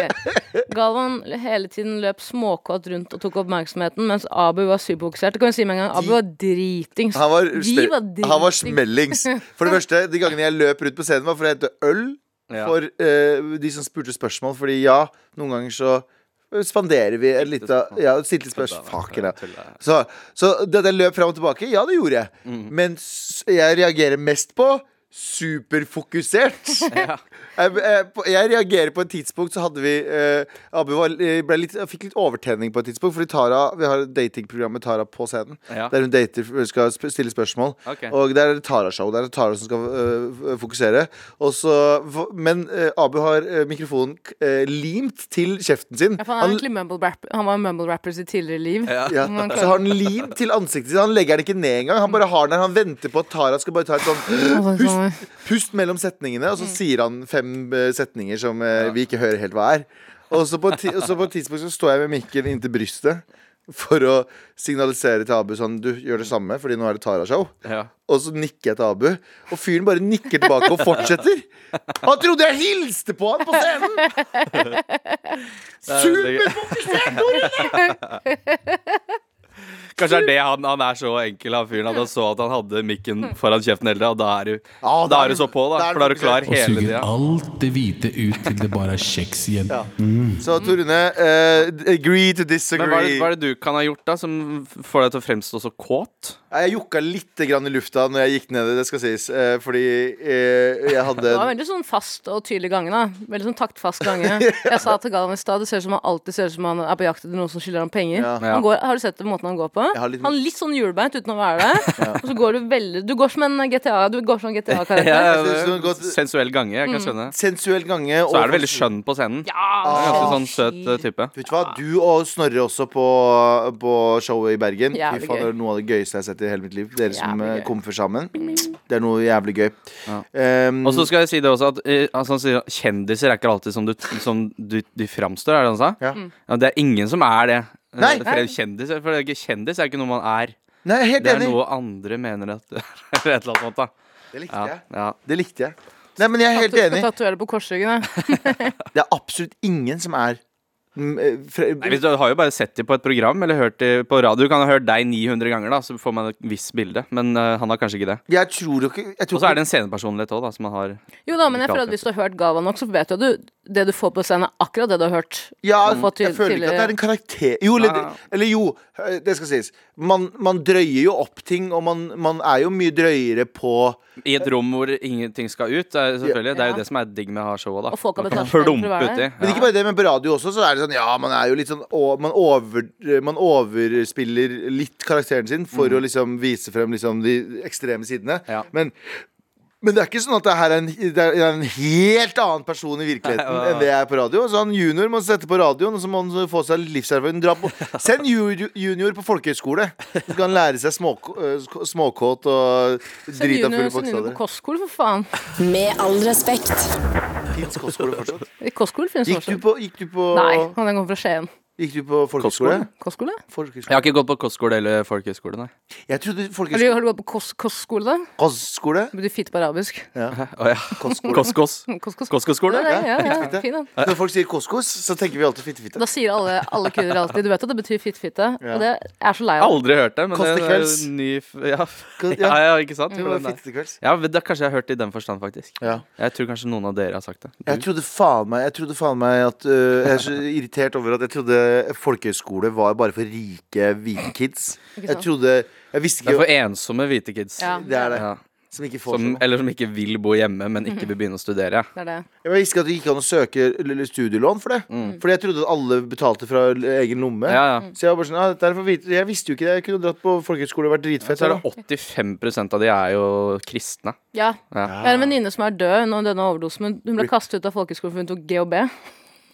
[SPEAKER 3] Galvan hele tiden løp småkåt rundt og tok oppmerksomheten, mens Abu var superfokusert. Det kan vi si med en gang. Abu var dritings.
[SPEAKER 4] Han var,
[SPEAKER 3] De
[SPEAKER 4] smell-
[SPEAKER 3] var dritings.
[SPEAKER 4] han var smellings. For det første, de gangene jeg løp rundt på scenen, var for å hente øl
[SPEAKER 5] Ja.
[SPEAKER 4] for eh, de som spurte spørsmål. Fordi ja, noen ganger så spanderer vi en lita Ja, stilte spørsmål. Fuck,
[SPEAKER 5] Ja,
[SPEAKER 4] ja.
[SPEAKER 5] tulla. Mm.
[SPEAKER 4] Så, så det at jeg løp fram og tilbake, ja, det gjorde jeg. Men s- jeg reagerer mest på superfokusert. jeg, jeg, på- jeg reagerer på et tidspunkt så hadde vi eh, Abu var, eh, ble litt, fikk litt overtenning på et tidspunkt, fordi Tara, vi har datingprogrammet Tara på scenen.
[SPEAKER 5] Ja.
[SPEAKER 4] Der hun dater, skal sp- stille spørsmål.
[SPEAKER 5] Ok.
[SPEAKER 4] Og der er det Tara-show. Der er det Tara som skal eh, f- fokusere. Og så, f- men eh, Abu har eh, mikrofonen eh, limt til kjeften sin.
[SPEAKER 3] Ja, for han, er egentlig mumble rap, han var mumble rapper i sitt tidligere liv.
[SPEAKER 4] Ja,
[SPEAKER 3] Men han
[SPEAKER 4] så har han lim til ansiktet sitt. Han legger den ikke ned engang. Han bare har den der, han venter på at Tara skal bare ta et sånn
[SPEAKER 3] sånn-
[SPEAKER 4] pust, pust mellom setningene, og så sier han fem eh, setninger som eh, vi ikke hører helt hva er. Og så på, et ti- og så på et tidspunkt så står jeg med mikken inntil brystet for å signalisere til Abu sånn Du gjør det samme, fordi nå er det Tara-show.
[SPEAKER 5] Ja.
[SPEAKER 4] Og så nikker jeg til Abu, og fyren bare nikker tilbake og fortsetter. Han trodde jeg hilste på han på scenen!
[SPEAKER 5] Superfokusert, Kanskje det er det han, han er så enkel, han fyren, at han så at han hadde mikken foran kjeften hele tida, og da er du,
[SPEAKER 4] Ja,
[SPEAKER 5] da er du så på, da.
[SPEAKER 4] da er du
[SPEAKER 5] For da er du klar
[SPEAKER 6] Og
[SPEAKER 5] hele
[SPEAKER 6] suger
[SPEAKER 5] tida.
[SPEAKER 6] alt det hvite ut til det bare er kjeks igjen.
[SPEAKER 4] Så Torune, eh, agree to
[SPEAKER 5] Men hva er, det,
[SPEAKER 4] disagree.
[SPEAKER 5] hva er det du kan ha gjort da som f- får deg til å fremstå så kåt?
[SPEAKER 4] Nei, Jeg jokka litt grann i lufta når jeg gikk ned, det skal sies. eh, Fordi eh, jeg hadde
[SPEAKER 3] Det var veldig sånn fast og tydelig gange. da Veldig sånn taktfast gange. Jeg sa til Galvan i stad det ser ut som han alltid ser ut som han er på jakt etter noen som skylder ham penger.
[SPEAKER 4] Ja.
[SPEAKER 5] Ja.
[SPEAKER 3] Han går, har du sett det, måten han går på?
[SPEAKER 4] Jeg har litt-
[SPEAKER 3] Han er litt sånn hjulbeint uten å være det. Og så går du veldig Du går som en GTA. Du går som en GTA-karakter.
[SPEAKER 5] Ja,
[SPEAKER 4] Jeg synes det var godt-
[SPEAKER 5] sensuell gange, jeg kan skjønne.
[SPEAKER 4] sensuell gange.
[SPEAKER 5] Så er det veldig skjønn på scenen.
[SPEAKER 3] Ja,
[SPEAKER 5] Ganske sånn søt eh, type.
[SPEAKER 4] Vet du hva, du og Snorre også på, på showet i Bergen. Fy
[SPEAKER 3] Jævlig
[SPEAKER 4] faen, det
[SPEAKER 3] gøy.
[SPEAKER 4] er noe av det gøyeste jeg har sett i hele mitt liv. Dere som
[SPEAKER 3] Jævlig
[SPEAKER 4] eh,
[SPEAKER 3] gøy.
[SPEAKER 4] komfer sammen. Det er noe jævlig gøy.
[SPEAKER 5] Ja.
[SPEAKER 4] Ehm,
[SPEAKER 5] Og så skal jeg si det også at eh, altså, han sier at Kjendiser er ikke alltid som, du, som du, de framstår, er det han sa?
[SPEAKER 4] Ja.
[SPEAKER 3] Mm.
[SPEAKER 5] Ja, det er ingen som er det. Eh,
[SPEAKER 4] Nei.
[SPEAKER 5] For kjendiser, for det er ikke, kjendis er ikke noe man er.
[SPEAKER 4] Nei, jeg er helt
[SPEAKER 5] Det er
[SPEAKER 4] enig.
[SPEAKER 5] noe andre mener at det er et eller annet sånt, da.
[SPEAKER 4] Det likte
[SPEAKER 5] Ja,
[SPEAKER 4] jeg.
[SPEAKER 5] ja.
[SPEAKER 4] Det likte jeg. Nei, men jeg er helt
[SPEAKER 3] Du
[SPEAKER 4] enig.
[SPEAKER 3] skal tatovere det på korsryggen. da.
[SPEAKER 4] Det er absolutt ingen som er mm, eh, fra-
[SPEAKER 5] Nei, hvis du har jo bare sett dem på et program eller hørt dem på radio. Du kan ha hørt deg 900 ganger, da, så får man et visst bilde. Men eh, han har kanskje ikke det.
[SPEAKER 4] Jeg tror jo ikke jeg
[SPEAKER 5] Og
[SPEAKER 4] tror
[SPEAKER 5] så er
[SPEAKER 4] ikke-
[SPEAKER 5] det en scenepersonlighet òg, da, som man har.
[SPEAKER 3] Jo da, men jeg føler at hvis du har hørt Galvan nok, så vet du at du, det du får på scenen, er akkurat det du har hørt.
[SPEAKER 4] Ja,
[SPEAKER 3] Du får til-
[SPEAKER 4] jeg føler ikke at det
[SPEAKER 3] tidligere.
[SPEAKER 4] er en karakter Jo, eller,
[SPEAKER 5] Ja, ja.
[SPEAKER 4] eller jo, eh, det skal sies. Man, man drøyer jo opp ting, og man, man er jo mye drøyere på
[SPEAKER 5] I et rom hvor ingenting skal ut. Det er, selvfølgelig, det er
[SPEAKER 3] Ja.
[SPEAKER 5] jo det som er digg med å ha showet, da.
[SPEAKER 3] Og folk har
[SPEAKER 5] Man kan
[SPEAKER 3] betalt penger for å
[SPEAKER 5] plumpe
[SPEAKER 3] være
[SPEAKER 5] uti.
[SPEAKER 3] der.
[SPEAKER 4] Men ikke bare det, men på radio også, så er det sånn Ja, man er jo litt sånn å- Man, over, man overspiller litt karakteren sin for å liksom vise frem liksom de ekstreme sidene.
[SPEAKER 5] Ja.
[SPEAKER 4] Men men det er ikke sånn at det her er en, det er en helt annen person i virkeligheten enn det jeg er på radio. Så han junior må sette på radioen, og så må han få seg livserfaring. Dra på. Send ju- junior på folkehøyskole. Så skal han lære seg småk- øh, småkåt og
[SPEAKER 3] Send
[SPEAKER 4] drita
[SPEAKER 3] junior
[SPEAKER 4] fulle
[SPEAKER 3] send junior på
[SPEAKER 4] bokstaver.
[SPEAKER 3] kostskole, for faen.
[SPEAKER 1] Med all respekt.
[SPEAKER 4] Fins kostskole fortsatt?
[SPEAKER 3] I kostskole finnes det
[SPEAKER 4] Gikk du
[SPEAKER 3] fortsatt.
[SPEAKER 4] på, gikk du på,
[SPEAKER 3] Nei, han kommer fra Skien.
[SPEAKER 4] gikk du på folkehøyskole?
[SPEAKER 3] Kostskole?
[SPEAKER 5] Jeg
[SPEAKER 4] Folkehøyskole.
[SPEAKER 5] har ikke gått på kostskole eller folkehøyskole, nei.
[SPEAKER 4] Jeg trodde
[SPEAKER 3] Har du,
[SPEAKER 4] folkehøyskole
[SPEAKER 3] har du gått på kos- kostskole, da?
[SPEAKER 4] Kostskole?
[SPEAKER 3] Det betyr fitte på arabisk.
[SPEAKER 5] Å ja. Koskos.
[SPEAKER 3] Kos-kos. Ja,
[SPEAKER 5] Koskos-skole?
[SPEAKER 3] ja, ja,
[SPEAKER 4] Fitte, fitte.
[SPEAKER 3] Fin, den.
[SPEAKER 4] Når folk sier koskos, så tenker vi alltid
[SPEAKER 3] Da
[SPEAKER 4] fittefitte.
[SPEAKER 3] sier alle, alle kvinner alltid Du vet at det betyr fitte-fitte. Og det jeg er så lei av.
[SPEAKER 5] Aldri hørt det, men det er
[SPEAKER 4] Kostekvelds.
[SPEAKER 5] en ny f- ja.
[SPEAKER 4] Ko-
[SPEAKER 5] ja,
[SPEAKER 4] ja.
[SPEAKER 5] ja, ikke sant?
[SPEAKER 4] Det
[SPEAKER 5] Jo,
[SPEAKER 4] var
[SPEAKER 5] den der.
[SPEAKER 4] fitte til kvelds.
[SPEAKER 5] Ja, men da kanskje jeg har hørt det i den forstand, faktisk.
[SPEAKER 4] Ja.
[SPEAKER 5] Jeg tror kanskje noen av dere har sagt det. Du?
[SPEAKER 4] Jeg trodde faen meg Jeg trodde faen meg at øh, Jeg er så irritert over at jeg trodde folkehøyskole var bare for rike hvite kids. Jeg
[SPEAKER 3] sant?
[SPEAKER 4] trodde Jeg visste
[SPEAKER 5] Det er
[SPEAKER 4] ikke
[SPEAKER 5] for ensomme hvite kids.
[SPEAKER 3] Ja,
[SPEAKER 4] Det er det.
[SPEAKER 5] Ja.
[SPEAKER 4] Som ikke får
[SPEAKER 5] Som,
[SPEAKER 4] sånn.
[SPEAKER 5] eller som ikke vil bo hjemme, men ikke
[SPEAKER 3] Mhm.
[SPEAKER 5] vil begynne å studere.
[SPEAKER 3] det er det.
[SPEAKER 4] Jeg visste ikke at det gikk an å søke l- l- studielån for det. Fordi jeg trodde at alle betalte fra l- egen lomme.
[SPEAKER 5] Ja, ja.
[SPEAKER 4] Så jeg var bare sånn ah, dette er for hvite. Jeg visste jo ikke det. Jeg kunne dratt på folkehøyskole og vært dritfett.
[SPEAKER 5] Så er
[SPEAKER 4] her, da.
[SPEAKER 5] det 85 av de er jo kristne.
[SPEAKER 3] Ja.
[SPEAKER 5] Ja.
[SPEAKER 3] Jeg har en venninne som er død under denne overdosen, men hun ble kastet ut av folkehøyskolen for hun tok GHB.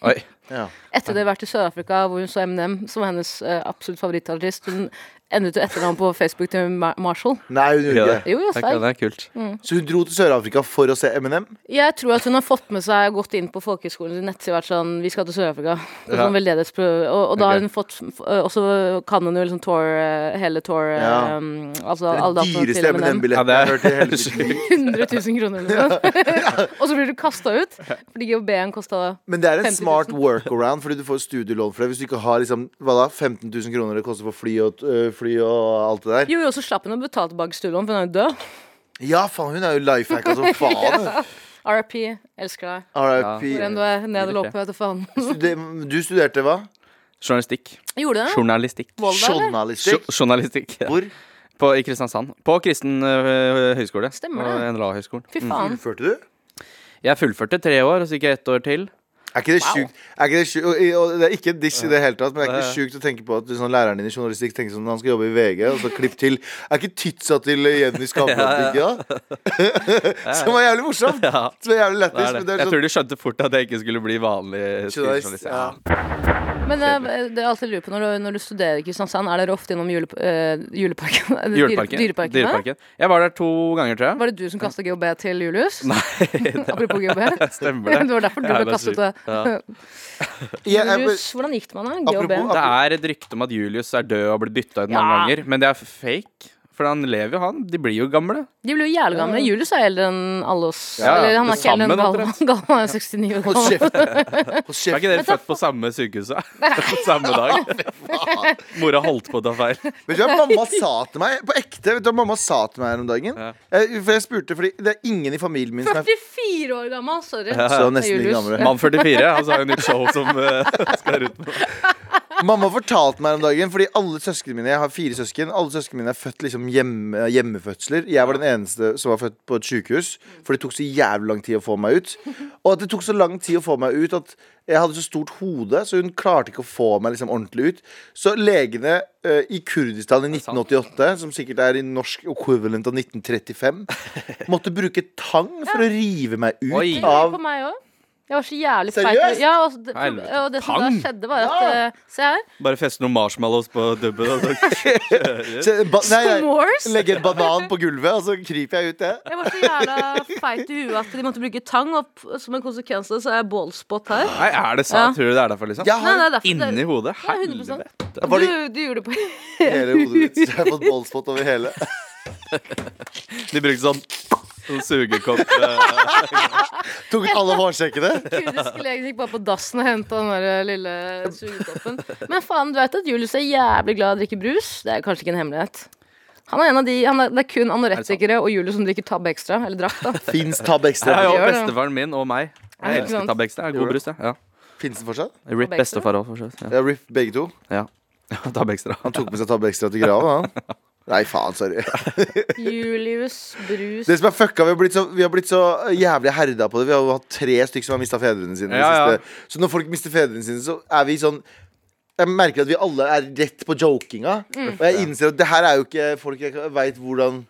[SPEAKER 5] Oi.
[SPEAKER 4] Ja.
[SPEAKER 3] Etter det har vært i Sør-Afrika, hvor hun så Eminem, som var hennes eh, absolutt favorittartist. Hun endret jo etternavn på Facebook til Ma- Marshall.
[SPEAKER 4] Nei, hun gjorde ikke det.
[SPEAKER 3] Jo, jo,
[SPEAKER 5] Det er ikke-
[SPEAKER 3] sterk.
[SPEAKER 5] det er kult.
[SPEAKER 4] Så hun dro til Sør-Afrika for å se Eminem?
[SPEAKER 3] Jeg tror at hun har fått med seg gått inn på folkehøyskolens nettside og vært sånn Vi skal til Sør-Afrika. Og,
[SPEAKER 5] Ja.
[SPEAKER 3] sånn veldedighetsprøve. og, og da har
[SPEAKER 5] Ok.
[SPEAKER 3] hun fått f- Og så kan hun jo liksom tour, eh, hele tour eh,
[SPEAKER 4] Ja.
[SPEAKER 3] um, Altså alle
[SPEAKER 4] Den
[SPEAKER 3] datoene til
[SPEAKER 4] dyreste
[SPEAKER 3] Eminem.
[SPEAKER 5] Ja,
[SPEAKER 4] Eminem-billetten
[SPEAKER 5] det
[SPEAKER 4] jeg har
[SPEAKER 5] er-
[SPEAKER 4] hørt i hele mitt liv.
[SPEAKER 3] 100 000 kroner eller noe sånt. og så blir du kasta ut fordi GHB-en kosta
[SPEAKER 4] Men det er en
[SPEAKER 3] 50 000.
[SPEAKER 4] smart workaround, fordi du får studielån for det. Hvis du ikke har liksom, hva da, 15 000 kroner det koster for fly og, øh, fly og alt det der.
[SPEAKER 3] Jo, jo, så slapp hun å betale tilbake studielån, for hun er jo død.
[SPEAKER 4] Ja, faen, hun er jo lifehacka som faen.
[SPEAKER 3] RIP. Elsker deg.
[SPEAKER 4] RIP.
[SPEAKER 3] Hvor enn du er, ned eller opp, vet du faen.
[SPEAKER 4] Stude- Du studerte hva?
[SPEAKER 5] Journalistikk.
[SPEAKER 3] Gjorde det?
[SPEAKER 5] Journalistikk.
[SPEAKER 3] Volda, eller?
[SPEAKER 4] Journalistikk.
[SPEAKER 5] Jo- Journalistikk.
[SPEAKER 4] Hvor?
[SPEAKER 5] På, I Kristiansand. På kristen øh, høyskole.
[SPEAKER 3] Stemmer
[SPEAKER 5] Og
[SPEAKER 3] det.
[SPEAKER 5] NLA-høgskolen.
[SPEAKER 3] Fy faen.
[SPEAKER 4] Fullførte du?
[SPEAKER 5] Jeg fullførte tre år, og så gikk jeg ett år til.
[SPEAKER 4] Er ikke det sjukt? Er ikke det, sjukt og, og det er ikke en diss i det hele tatt, men det er ikke sjukt å tenke på at sånn, læreren din i journalistikk tenker sånn når han skal jobbe i VG, og så klipp til. Er ikke Tytsa til Jenny Skavlan digge, da? Som var jævlig morsomt! Som var jævlig
[SPEAKER 5] Det
[SPEAKER 4] lættis. men
[SPEAKER 5] er det.
[SPEAKER 4] det er
[SPEAKER 5] Jeg
[SPEAKER 4] sånn-
[SPEAKER 5] tror de skjønte fort at jeg ikke skulle bli vanlig
[SPEAKER 4] Journalist,
[SPEAKER 5] journalist. Ja.
[SPEAKER 3] Men eh, det jeg alltid lurer på når du, når du studerer i Kristiansand, er dere ofte innom jule, eh, juleparken? Eller dyre-
[SPEAKER 5] Juleparken.
[SPEAKER 3] Dyreparken. ja?
[SPEAKER 5] Dyreparken. Jeg var der to ganger, tror jeg.
[SPEAKER 3] Var det du som kasta GHB til Julius?
[SPEAKER 5] Nei,
[SPEAKER 3] Apropos GHB.
[SPEAKER 5] stemmer
[SPEAKER 3] Det
[SPEAKER 5] det.
[SPEAKER 3] var derfor du
[SPEAKER 5] Ja,
[SPEAKER 3] ble
[SPEAKER 5] det er
[SPEAKER 3] kastet
[SPEAKER 5] sykt.
[SPEAKER 3] ut
[SPEAKER 5] Ja.
[SPEAKER 3] av
[SPEAKER 4] Ja, jeg-
[SPEAKER 3] Julius. Hvordan gikk det med han? da?
[SPEAKER 4] Apropos-
[SPEAKER 3] GHB?
[SPEAKER 5] Det er et rykte om at Julius er død og blir dytta ut mange
[SPEAKER 3] Ja.
[SPEAKER 5] ganger, men det er fake. For han lever jo, han. De blir jo gamle.
[SPEAKER 3] De blir jo jævlig gamle. Julius er eldre enn alle oss.
[SPEAKER 5] Ja,
[SPEAKER 3] Eller han er
[SPEAKER 5] det
[SPEAKER 3] ikke eldre enn
[SPEAKER 5] samme,
[SPEAKER 3] Galvan. Galvan er 69 år
[SPEAKER 4] Hold
[SPEAKER 3] gammel.
[SPEAKER 4] kjeft! Hold
[SPEAKER 5] Er
[SPEAKER 4] kjeft.
[SPEAKER 5] ikke dere født på samme sykehus? da? På samme dag? Mora holdt på å ta feil.
[SPEAKER 4] Vet du hva mamma sa til meg? På ekte, vet du hva mamma sa til meg her om dagen?
[SPEAKER 5] Ja.
[SPEAKER 4] Jeg, for jeg spurte, fordi det er ingen i familien min som er
[SPEAKER 3] 44 år gammel, sorry.
[SPEAKER 4] så nesten like
[SPEAKER 3] Julius.
[SPEAKER 4] gamle.
[SPEAKER 5] Mann 44. Han sa jo nytt show som eh, skal ut nå.
[SPEAKER 4] Mamma fortalte meg her om dagen, fordi alle søsknene mine Jeg har fire søsken. Alle søsknene mine er født liksom hjemme, hjemmefødsler. Jeg var den eneste som var født på et sykehus, for det tok så jævlig lang tid å få meg ut. Og at det tok så lang tid å få meg ut at jeg hadde så stort hode, så hun klarte ikke å få meg liksom ordentlig ut. Så legene eh, i Kurdistan i 1988, som sikkert er i norsk equivalent av 1935, måtte bruke tang for å rive meg ut
[SPEAKER 5] Oi.
[SPEAKER 3] Det gjorde
[SPEAKER 4] av
[SPEAKER 3] på meg også. Jeg var så jævlig
[SPEAKER 4] Seriøst?
[SPEAKER 3] feit. Ja, og, det,
[SPEAKER 5] Helvete.
[SPEAKER 3] og det som da
[SPEAKER 5] Pang!
[SPEAKER 3] skjedde, var at
[SPEAKER 4] Ja.
[SPEAKER 3] eh, Se her.
[SPEAKER 5] Bare feste noen marshmallows på dubben. altså. og så-
[SPEAKER 4] Se, ba, Nei,
[SPEAKER 3] S'mores?
[SPEAKER 4] jeg legger en banan på gulvet, og så kryper jeg ut det.
[SPEAKER 3] Jeg var så jævla feit i huet at de måtte bruke tang, og p- som en konsekvens av det så er jeg bålspott her.
[SPEAKER 5] Nei, er det sant?
[SPEAKER 3] Ja.
[SPEAKER 5] Tror du det er derfor, liksom?
[SPEAKER 4] Jeg har
[SPEAKER 3] Nei, det er derfor det-
[SPEAKER 5] Inni hodet?
[SPEAKER 3] Ja, 100%.
[SPEAKER 5] Helvete.
[SPEAKER 4] Var det-
[SPEAKER 3] Du, du gjorde det på
[SPEAKER 4] hele hodet ditt. Så jeg har fått ballspot over hele.
[SPEAKER 5] De brukte sånn, sånn sugekopp. eh,
[SPEAKER 4] Tok ut alle hårsekkene.
[SPEAKER 3] kurdiske legen gikk bare på dassen og henta den der eh, lille sugekoppen. Men faen, du vet at Julius er jævlig glad i å drikke brus? Det er kanskje ikke en hemmelighet. Han er en av de, han er, Det er kun anorektikere og Julius som drikker Tab Extra. Eller drakk, da.
[SPEAKER 4] Fins Tab
[SPEAKER 5] Jeg har
[SPEAKER 4] Extra?
[SPEAKER 5] jo
[SPEAKER 3] gjør det.
[SPEAKER 5] bestefaren min og meg.
[SPEAKER 3] Ja,
[SPEAKER 5] Jeg
[SPEAKER 3] ikke
[SPEAKER 5] elsker
[SPEAKER 3] sant?
[SPEAKER 5] Tab Extra.
[SPEAKER 4] Gjorde
[SPEAKER 5] God brus, det. Ja.
[SPEAKER 4] Fins den fortsatt?
[SPEAKER 5] Rip
[SPEAKER 3] Extra?
[SPEAKER 5] bestefar òg, for så vidt. Ja.
[SPEAKER 4] Ja, Rip begge to.
[SPEAKER 5] Ja. Ja, Tab Extra.
[SPEAKER 4] Han tok med seg Tab Extra til grava, han. Nei, faen, sorry.
[SPEAKER 3] Julius, brus
[SPEAKER 4] Det som er fucka, Vi har blitt så, vi har blitt så jævlig herda på det. Vi har jo hatt tre stykker som har mista fedrene sine. i det
[SPEAKER 5] Ja, ja.
[SPEAKER 4] Siste. Så når folk mister fedrene sine, så er vi sånn jeg merker at vi alle er rett på jokinga.
[SPEAKER 5] Mm.
[SPEAKER 4] Og jeg innser at det her er jo ikke folk jeg veit hvordan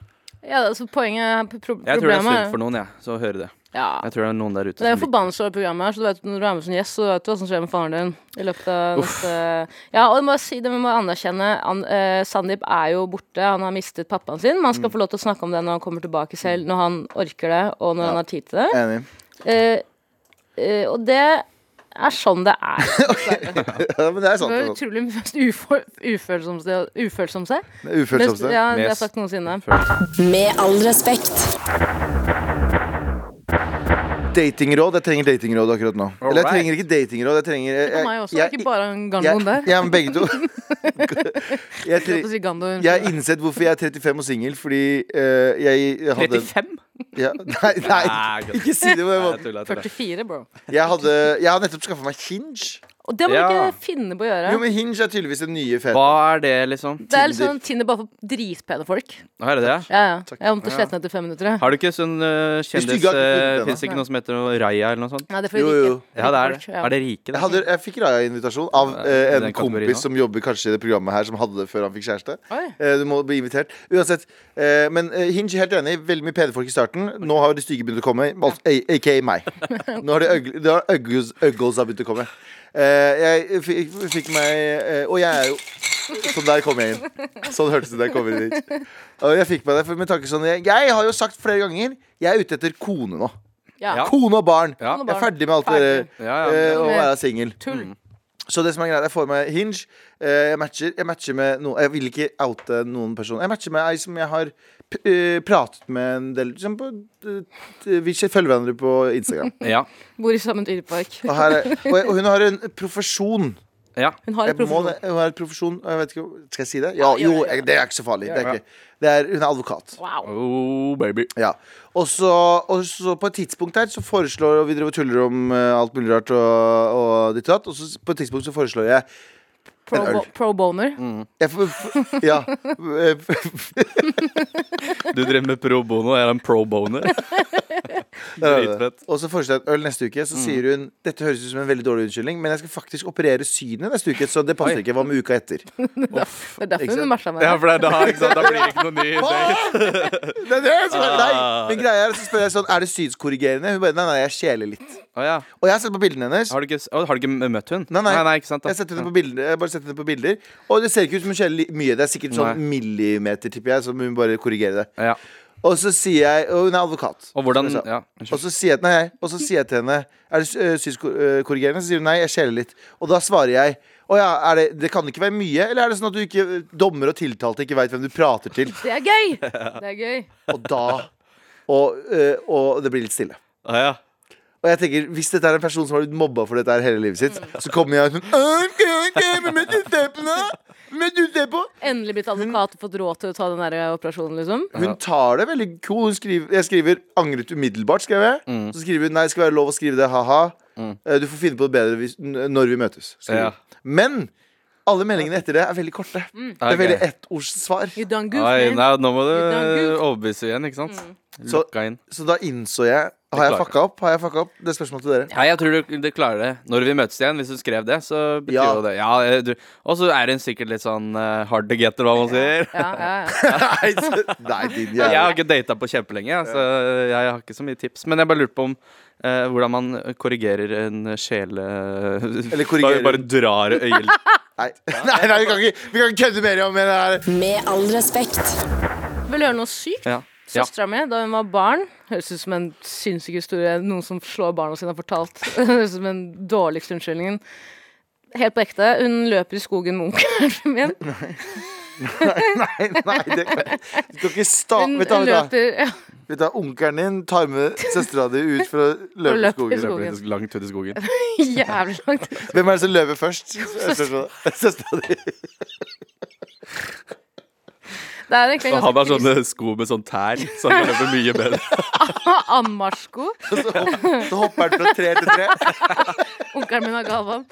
[SPEAKER 3] Ja, altså poenget pro Problemet
[SPEAKER 5] Jeg tror det er sunt
[SPEAKER 3] er-
[SPEAKER 5] for noen, jeg. Ja. Så høre det.
[SPEAKER 3] ja.
[SPEAKER 5] Jeg tror det er noen der ute
[SPEAKER 3] Det er jo
[SPEAKER 5] som
[SPEAKER 3] forbannelse over programmet her, så du vet når du er med som gjest, så vet du hva som skjer med faren din i løpet av neste Ja, og jeg må si det, vi må anerkjenne an, eh, Sandeep er jo borte, han har mistet pappaen sin. Man
[SPEAKER 4] Mm.
[SPEAKER 3] skal få lov til å snakke om det når han kommer tilbake selv, når han orker det, og når han har tid til det.
[SPEAKER 4] Enig.
[SPEAKER 3] Eh, eh, og det er sånn det er.
[SPEAKER 4] Ja, men det er
[SPEAKER 3] Det er
[SPEAKER 4] sant.
[SPEAKER 3] utrolig mest ufor- ufølsomste ufølsomste. Mest-
[SPEAKER 4] Ufølsomste.
[SPEAKER 3] Ja, det har jeg
[SPEAKER 5] Mest-
[SPEAKER 3] sagt noensinne.
[SPEAKER 1] Med all respekt.
[SPEAKER 4] Datingråd. Jeg trenger datingråd akkurat nå. Eller jeg
[SPEAKER 5] Alright.
[SPEAKER 4] trenger ikke datingråd. Jeg trenger jeg,
[SPEAKER 3] For meg også,
[SPEAKER 4] jeg-
[SPEAKER 3] ikke bare han
[SPEAKER 4] jeg,
[SPEAKER 3] gandoen der.
[SPEAKER 4] Ja, men begge to. jeg,
[SPEAKER 3] Jeg holdt på å
[SPEAKER 4] tre,
[SPEAKER 3] si Gando,
[SPEAKER 4] jeg har innsett hvorfor jeg er 35 og singel, fordi eh, jeg hadde
[SPEAKER 5] 35?
[SPEAKER 4] ja, Nei, nei
[SPEAKER 5] Nei, gud.
[SPEAKER 4] ikke si det på den
[SPEAKER 5] Nei, jeg
[SPEAKER 4] måten.
[SPEAKER 5] tuller, jeg tuller.
[SPEAKER 3] 44, bro.
[SPEAKER 4] Jeg, hadde, jeg har nettopp skaffa meg Hinge.
[SPEAKER 3] Og det må du
[SPEAKER 5] Ja.
[SPEAKER 3] ikke finne på å gjøre.
[SPEAKER 4] Jo, men Hinge er tydeligvis den nye fete.
[SPEAKER 5] Hva er det, liksom?
[SPEAKER 3] Det er litt
[SPEAKER 4] Tinder.
[SPEAKER 3] sånn Tinder bare for dritpene folk.
[SPEAKER 5] Hva er det det?
[SPEAKER 3] Ja, ja. Jeg måtte slette den etter fem minutter. jeg.
[SPEAKER 5] Har du ikke sånn uh,
[SPEAKER 4] du
[SPEAKER 5] kjendis...
[SPEAKER 4] ikke har funnet
[SPEAKER 5] Uh,
[SPEAKER 4] den,
[SPEAKER 5] Fins
[SPEAKER 3] da?
[SPEAKER 5] det ikke noe som heter noe Raya eller noe sånt?
[SPEAKER 3] Nei, det er for
[SPEAKER 4] Jo,
[SPEAKER 3] rike.
[SPEAKER 4] jo.
[SPEAKER 5] Ja, det er det.
[SPEAKER 3] Rike folk, ja.
[SPEAKER 5] Er det rike,
[SPEAKER 4] Jeg,
[SPEAKER 5] det?
[SPEAKER 4] hadde, jeg fikk Raja-invitasjon av eh, en
[SPEAKER 5] I den kategorien
[SPEAKER 4] kompis
[SPEAKER 5] nå.
[SPEAKER 4] som jobber kanskje i det programmet her, som hadde det før han fikk kjæreste.
[SPEAKER 3] Oi.
[SPEAKER 4] Eh, du må bli invitert. Uansett. eh, men eh, Hinge er helt enig. Veldig mye pene folk i starten. Nå har de stygge begynt å komme. altså, a- AKA meg. Nå har de øgl- da har uggles uggles har begynt å komme. Eh, jeg fikk, fikk meg eh, Og jeg er jo Sånn der kom jeg inn. Sånn hørtes det da jeg kom inn hit. Og jeg fikk meg det for med tanke sånn jeg, jeg har jo sagt flere ganger jeg er ute etter kone nå.
[SPEAKER 3] Ja.
[SPEAKER 5] Ja.
[SPEAKER 4] Kone og barn.
[SPEAKER 5] Ja.
[SPEAKER 4] Jeg er ferdig Mm. med alt det der.
[SPEAKER 5] Ja,
[SPEAKER 4] eh,
[SPEAKER 5] ja.
[SPEAKER 4] og være singel.
[SPEAKER 3] Tull.
[SPEAKER 4] Så det som er greit, jeg får meg Hinge. eh, Jeg matcher, jeg matcher med noen Jeg vil ikke oute noen personer. Jeg matcher med ei som jeg har p eh, pratet med en del som på, eh, Vi følger hverandre på Instagram.
[SPEAKER 5] ja.
[SPEAKER 3] Bor i samme dyrepark.
[SPEAKER 4] Og, her er, og, jeg, og hun har en profesjon.
[SPEAKER 5] ja.
[SPEAKER 3] Hun har
[SPEAKER 4] Jeg
[SPEAKER 3] et
[SPEAKER 4] må,
[SPEAKER 3] profesjon.
[SPEAKER 4] det- hun har et profesjon jeg vet ikke, om- Skal jeg si det? Ja, jo, jeg, det er ikke så farlig. Det er ikke, det er, hun er advokat.
[SPEAKER 3] Wow.
[SPEAKER 5] Oh, baby.
[SPEAKER 4] Ja. Og så, og så på et tidspunkt her så foreslår og vi driver og tuller om eh, alt mulig rart og, og ditt og datt. Og så s- på et tidspunkt så foreslår jeg
[SPEAKER 3] Pro,
[SPEAKER 4] En øl.
[SPEAKER 3] bo- pro boner.
[SPEAKER 4] Jeg får- f- Ja. eh,
[SPEAKER 5] Du driver med pro bono, jeg er en pro boner. Dritfett. Mm.
[SPEAKER 4] Og så foreslår jeg et øl neste uke. Så sier hun dette høres ut som en veldig dårlig unnskyldning, men jeg skal faktisk operere synet neste uke, så det passer
[SPEAKER 5] Oi.
[SPEAKER 4] ikke. Hva med uka etter?
[SPEAKER 3] Det er derfor
[SPEAKER 4] Ikke
[SPEAKER 3] hun
[SPEAKER 4] sant?
[SPEAKER 3] matcha meg.
[SPEAKER 5] Ja, for det er da, ikke sant? Da blir det ikke noe ny date.
[SPEAKER 4] Det er det som er
[SPEAKER 5] Ah.
[SPEAKER 4] nei. Men greia er, så spør jeg sånn, er det synskorrigerende? Hun bare nei, nei, jeg skjeler litt.
[SPEAKER 5] Å, ja.
[SPEAKER 4] Og jeg har sett på bildene hennes.
[SPEAKER 5] har, du ikke, å, har du ikke møtt hun?
[SPEAKER 4] Nei, nei.
[SPEAKER 5] nei, ikke sant? da.
[SPEAKER 4] Jeg har sett henne på bilder, jeg har bare sett henne på bilder. Og det ser ikke ut som hun skjeler li- mye. Det er sikkert sånn millimeter, tipper jeg, som hun bare korrigerer det.
[SPEAKER 5] Ja.
[SPEAKER 4] Og så sier jeg Og hun er advokat.
[SPEAKER 5] Og hvordan
[SPEAKER 4] som jeg sa.
[SPEAKER 5] Ja,
[SPEAKER 4] Og
[SPEAKER 5] unnskyld.
[SPEAKER 4] så sier jeg, nei, og så sier jeg til henne Er det øh, synskorrigerende? Så sier hun nei, jeg skjeler litt. Og da svarer jeg å ja, er det, det kan ikke være mye, eller er det sånn at du ikke, dommer og tiltalte ikke veit hvem du prater til?
[SPEAKER 3] Det er gøy! Det er gøy.
[SPEAKER 4] Og da Og, øh, og det blir litt stille.
[SPEAKER 5] Å, ja.
[SPEAKER 4] Og jeg tenker, Hvis dette er en person som har blitt mobba for dette her hele livet sitt, så kommer jeg ut sånn «Øh, ok, ok, men vet du se på nå? Vet du se på?
[SPEAKER 3] Endelig blitt advokat og fått råd til å ta den der operasjonen, liksom.
[SPEAKER 4] Hun tar det veldig cool. Hun skriver, jeg skriver 'angret umiddelbart'. skrev jeg Så skriver hun 'nei, det skal være lov å skrive det, ha-ha'. Eh, Du får finne på det bedre hvis, n- når vi møtes. skriver
[SPEAKER 5] Ja.
[SPEAKER 4] hun. Men alle meldingene etter det er veldig korte. Det er
[SPEAKER 5] Ah, Ok.
[SPEAKER 4] veldig ettordssvar.
[SPEAKER 3] You done goof,
[SPEAKER 5] Oi,
[SPEAKER 3] man.
[SPEAKER 5] nei, nå må du
[SPEAKER 3] Gud. Mm.
[SPEAKER 5] overbevise igjen, ikke sant?
[SPEAKER 4] Så-
[SPEAKER 5] Lokka inn.
[SPEAKER 4] Så da innså jeg Har jeg
[SPEAKER 5] klarer
[SPEAKER 4] fucka opp? Har jeg fucka opp? Det er spørsmålet til dere.
[SPEAKER 5] Nei, jeg tror du, du klarer det. Når vi møtes igjen, hvis du skrev det, så betyr
[SPEAKER 4] Ja.
[SPEAKER 5] jo det ja, eh, du, Og så er hun sikkert litt sånn eh, hard to get, eller hva man sier.
[SPEAKER 3] Ja, ja, ja.
[SPEAKER 4] Nei, så- Nei, din jævel.
[SPEAKER 5] Jeg har ikke data på kjempelenge, jeg, så jeg har ikke så mye tips. Men jeg bare lurte på om eh, hvordan man korrigerer en sjele...
[SPEAKER 4] Eller korrigerer-
[SPEAKER 5] Bare, bare drar øyel...
[SPEAKER 4] Nei, nei, nei vi, kan ikke, vi kan ikke kødde mer om det her.
[SPEAKER 1] Med all respekt.
[SPEAKER 3] Vil du høre noe sykt?
[SPEAKER 5] Ja. ja.
[SPEAKER 3] Søstera mi, da hun var barn Høres ut som en sinnssyk historie noen som slår barna sine har fortalt. Høres ut som den dårligste unnskyldningen. Helt på ekte. Hun løper i skogen med onkelen min.
[SPEAKER 4] Nei, nei, det kan Du kan ikke sta...
[SPEAKER 3] Hun,
[SPEAKER 4] Vet du, hva,
[SPEAKER 3] hun
[SPEAKER 4] vet du,
[SPEAKER 3] løper ja,
[SPEAKER 4] hva? vet du, hva, onkelen din tar med søstera di ut for å løpe i
[SPEAKER 3] løpe i
[SPEAKER 4] skogen.
[SPEAKER 3] skogen.
[SPEAKER 5] Det blir Langt ut i skogen.
[SPEAKER 3] jævlig langt.
[SPEAKER 4] Hvem er det som løper først? Søstera di.
[SPEAKER 3] Det er egentlig
[SPEAKER 5] Og
[SPEAKER 3] en
[SPEAKER 5] han har
[SPEAKER 3] ganske
[SPEAKER 5] sånne sko med sånn tær, så han løper mye bedre.
[SPEAKER 3] trist anmarsjsko.
[SPEAKER 4] Så, hopp, så hopper han fra tre til tre.
[SPEAKER 3] Onkelen min er Galvan.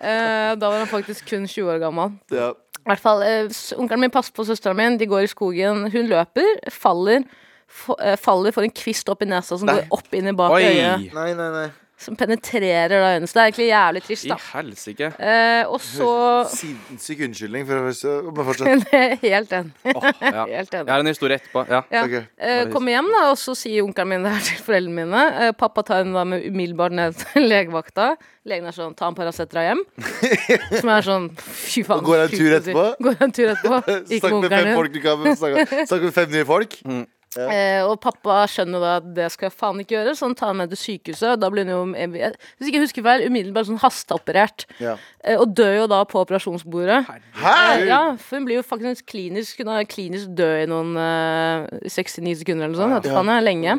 [SPEAKER 3] Eh, da var han faktisk kun 20 år gammel.
[SPEAKER 4] Ja.
[SPEAKER 3] I hvert fall, eh, s- Onkelen min passer på søsteren min, de går i skogen. Hun løper, faller. fo- eh, Faller, får en kvist opp i nesa som
[SPEAKER 4] Nei.
[SPEAKER 3] går opp inn i bak
[SPEAKER 5] Oi!
[SPEAKER 3] øyet.
[SPEAKER 4] Nei, nei, nei.
[SPEAKER 3] Som penetrerer da øynene. Så det er egentlig jævlig trist,
[SPEAKER 5] I
[SPEAKER 3] da.
[SPEAKER 5] helsike.
[SPEAKER 3] Eh, og så
[SPEAKER 4] Sinnssyk unnskyldning. For å så- men fortsett.
[SPEAKER 3] Det er Helt enig.
[SPEAKER 5] Åh, ja.
[SPEAKER 3] Helt
[SPEAKER 5] Jeg
[SPEAKER 3] enig.
[SPEAKER 5] har en historie etterpå. Ja.
[SPEAKER 3] Ja.
[SPEAKER 4] Ok.
[SPEAKER 3] Eh, kommer hjem, da, og så sier onkelen min det her til foreldrene mine. Eh, pappa tar henne da med umiddelbart ned til legevakta. Legen er sånn 'ta en Paracet, dra hjem'. Som er sånn fy faen.
[SPEAKER 4] Og går en
[SPEAKER 3] sjukt å
[SPEAKER 4] tur
[SPEAKER 3] si.
[SPEAKER 4] etterpå?
[SPEAKER 3] Går en tur etterpå. Gikk
[SPEAKER 4] Snakk
[SPEAKER 3] med
[SPEAKER 4] med fem
[SPEAKER 3] onkelen
[SPEAKER 4] folk du kan snakke snakk med fem nye folk.
[SPEAKER 3] Eh, og pappa skjønner da at det skal jeg faen ikke gjøre, så han tar henne med til sykehuset. Og da blir hun jo, hvis ikke jeg husker feil, umiddelbart sånn hasteoperert.
[SPEAKER 4] Ja.
[SPEAKER 3] Eh, og dør jo da på operasjonsbordet. Eh,
[SPEAKER 4] Hæ?!
[SPEAKER 3] ja, for hun blir jo faktisk klinisk Hun er klinisk død i noen eh, 69 sekunder eller noe sånt. Vet du
[SPEAKER 4] Ja.
[SPEAKER 3] faen, det er lenge.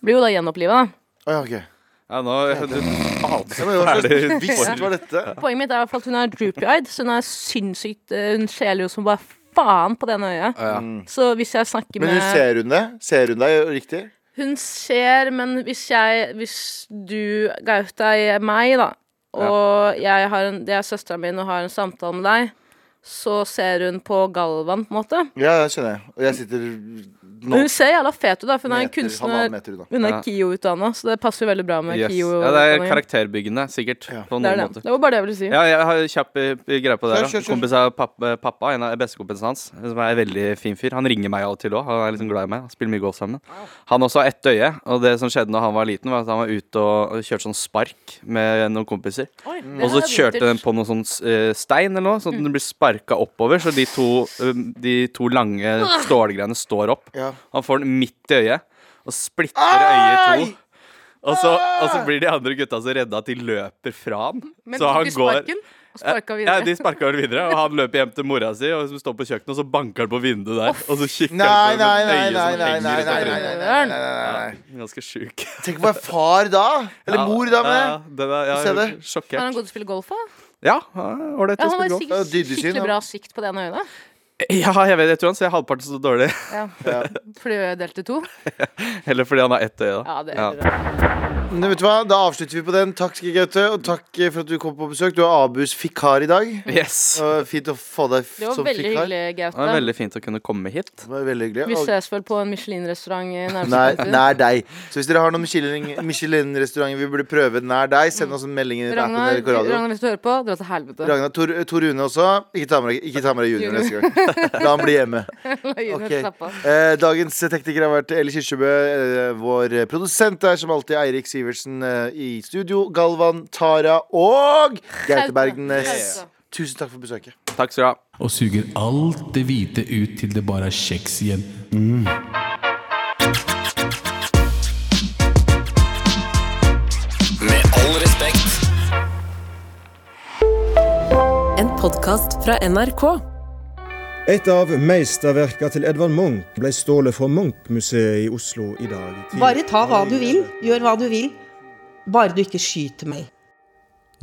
[SPEAKER 3] Blir jo da gjenoppliva, da.
[SPEAKER 4] Å, ja, ok.
[SPEAKER 5] Ja, nå du,
[SPEAKER 4] Ja, men hva slags vits var dette?
[SPEAKER 3] Poenget mitt er i hvert fall at hun er droopy-eyed, så hun er sinnssykt eh, Hun skjeler jo som bare faen på det ene øyet.
[SPEAKER 5] ja.
[SPEAKER 3] Så hvis jeg snakker
[SPEAKER 4] Men
[SPEAKER 3] med
[SPEAKER 4] hun ser hun det? Ser hun deg riktig?
[SPEAKER 3] Hun ser, men hvis jeg Hvis du, Gaute, er meg, da, og jeg har en, det er søstera mi og har en samtale med deg, så ser hun på Galvan, på en måte.
[SPEAKER 4] Ja, det skjønner jeg. Og jeg sitter nå
[SPEAKER 3] Men hun ser jævla fet ut, da, for hun er en
[SPEAKER 4] meter-
[SPEAKER 3] kunstner.
[SPEAKER 4] halvannen meter unna.
[SPEAKER 3] Hun er
[SPEAKER 5] Ja.
[SPEAKER 3] KIO-utdanna, så det passer jo veldig bra med
[SPEAKER 5] Yes.
[SPEAKER 3] KIO.
[SPEAKER 5] ja, det er
[SPEAKER 3] utdanningen.
[SPEAKER 5] karakterbyggende, sikkert.
[SPEAKER 4] Ja.
[SPEAKER 5] På
[SPEAKER 3] Det,
[SPEAKER 5] noen
[SPEAKER 3] er det.
[SPEAKER 5] måter.
[SPEAKER 3] det var bare det jeg ville si.
[SPEAKER 5] Ja, jeg har kjapp eh, greie på
[SPEAKER 4] Kjør,
[SPEAKER 5] det. her, da.
[SPEAKER 4] kjør, kjør.
[SPEAKER 5] Kompis av pappa, pappa, en av bestekompisene hans, som er en veldig fin fyr. Han ringer meg av og til òg. Han er liksom glad i meg. Han Spiller mye golf sammen. Han også har ett øye, og det som skjedde når han var liten, var at han var ute og og kjørte sånn spark med noen kompiser. Mm. Og så kjørte den på noen sånn eh, stein eller noe,
[SPEAKER 3] Mm.
[SPEAKER 5] sånn at den blir sparka oppover, så de to, um, de to lange
[SPEAKER 3] Ah!
[SPEAKER 5] stålgreiene står opp.
[SPEAKER 4] Ja.
[SPEAKER 5] Han får den midt i øyet og splitter øyet i to. Og så,
[SPEAKER 4] Ah!
[SPEAKER 5] og så blir de andre gutta så redde at de løper fra han.
[SPEAKER 3] Men
[SPEAKER 5] så
[SPEAKER 3] tok
[SPEAKER 5] han
[SPEAKER 3] du sparken? Og sparka
[SPEAKER 5] Ja,
[SPEAKER 3] videre?
[SPEAKER 5] de sparka vel videre, og han løper hjem til mora si, og som står på kjøkkenet, og så banker han på vinduet der. Og så kikker
[SPEAKER 4] Nei,
[SPEAKER 5] han på
[SPEAKER 4] nei,
[SPEAKER 5] et
[SPEAKER 4] nei,
[SPEAKER 5] øye
[SPEAKER 4] nei,
[SPEAKER 5] som
[SPEAKER 4] nei,
[SPEAKER 5] henger
[SPEAKER 4] nei,
[SPEAKER 5] ut av
[SPEAKER 4] nei, nei,
[SPEAKER 5] trynet.
[SPEAKER 4] nei, nei, nei, nei, nei.
[SPEAKER 5] Ganske sjuk.
[SPEAKER 4] Tenk å være far da! Eller mor da, med
[SPEAKER 5] Ja, den er,
[SPEAKER 4] Se
[SPEAKER 5] ja,
[SPEAKER 4] det.
[SPEAKER 3] Har han
[SPEAKER 5] sjokkert.
[SPEAKER 3] gått og spilt golf, da?
[SPEAKER 5] Ja, ålreit.
[SPEAKER 3] Ja, han har
[SPEAKER 5] å spille golf.
[SPEAKER 4] Ja,
[SPEAKER 3] sikkert
[SPEAKER 4] dybdesyn,
[SPEAKER 3] skikkelig
[SPEAKER 4] ja.
[SPEAKER 3] bra sikt på det ene øyet.
[SPEAKER 5] Ja, jeg vet, jeg tror han ser halvparten så dårlig.
[SPEAKER 3] Ja. Fordi jeg delte to.
[SPEAKER 5] Eller fordi han har ett øye, da.
[SPEAKER 3] Ja, det
[SPEAKER 5] Ja.
[SPEAKER 3] er bra.
[SPEAKER 4] Men vet du hva, Da avslutter vi på den. Takk skal Gaute, og takk eh, for at du kom på besøk. Du er Abus fikar i dag.
[SPEAKER 5] Yes.
[SPEAKER 4] Det var fint å få deg f-
[SPEAKER 3] Det var
[SPEAKER 4] som
[SPEAKER 3] veldig
[SPEAKER 4] fikar.
[SPEAKER 3] hyggelig,
[SPEAKER 5] Det var
[SPEAKER 3] Gaute.
[SPEAKER 5] veldig fint å kunne komme hit.
[SPEAKER 4] Det var veldig hyggelig.
[SPEAKER 3] Vi
[SPEAKER 4] Og-
[SPEAKER 3] ses vel på en Michelin-restaurant i
[SPEAKER 4] Nær,
[SPEAKER 3] nærmeste
[SPEAKER 4] nær deg. Så hvis dere har noen Michelin- Michelin-restauranter vi burde prøve nær deg, send oss en melding. i appen
[SPEAKER 3] Ragnar,
[SPEAKER 4] eller Corrado.
[SPEAKER 3] Ragnar, hvis du hører på, dra til helvete.
[SPEAKER 4] Ragnar, Tor, Tor Rune også. Ikke ta med deg- ikke ta med deg junior neste gang. La han bli hjemme.
[SPEAKER 3] Junior,
[SPEAKER 4] Ok.
[SPEAKER 3] slapp av.
[SPEAKER 4] Eh, dagens tekniker har vært Eli Kyrkjebø. Eh, vår produsent er som alltid Eirik Sivertsen eh, i studio. Galvan, Tara og Gaute Bergnes.
[SPEAKER 3] Gaute.
[SPEAKER 4] Tusen takk for besøket.
[SPEAKER 5] Takk skal du ha.
[SPEAKER 6] og suger alt det hvite ut til det bare er kjeks igjen.
[SPEAKER 2] Med all respekt.
[SPEAKER 1] En podkast fra NRK.
[SPEAKER 7] Et av meisterverka til Edvard Munch ble stålet fra Munch-museet i Oslo i dag.
[SPEAKER 8] Bare ta hva du vil, gjør hva du vil. Bare du ikke skyter meg.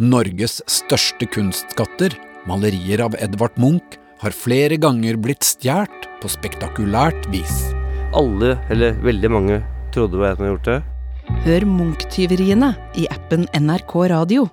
[SPEAKER 9] Norges største kunstskatter, malerier av Edvard Munch, har flere ganger blitt stjålet på spektakulært vis.
[SPEAKER 10] Alle, eller veldig mange, trodde at han hadde gjort det.
[SPEAKER 8] Hør Munch-tyveriene i appen NRK Radio.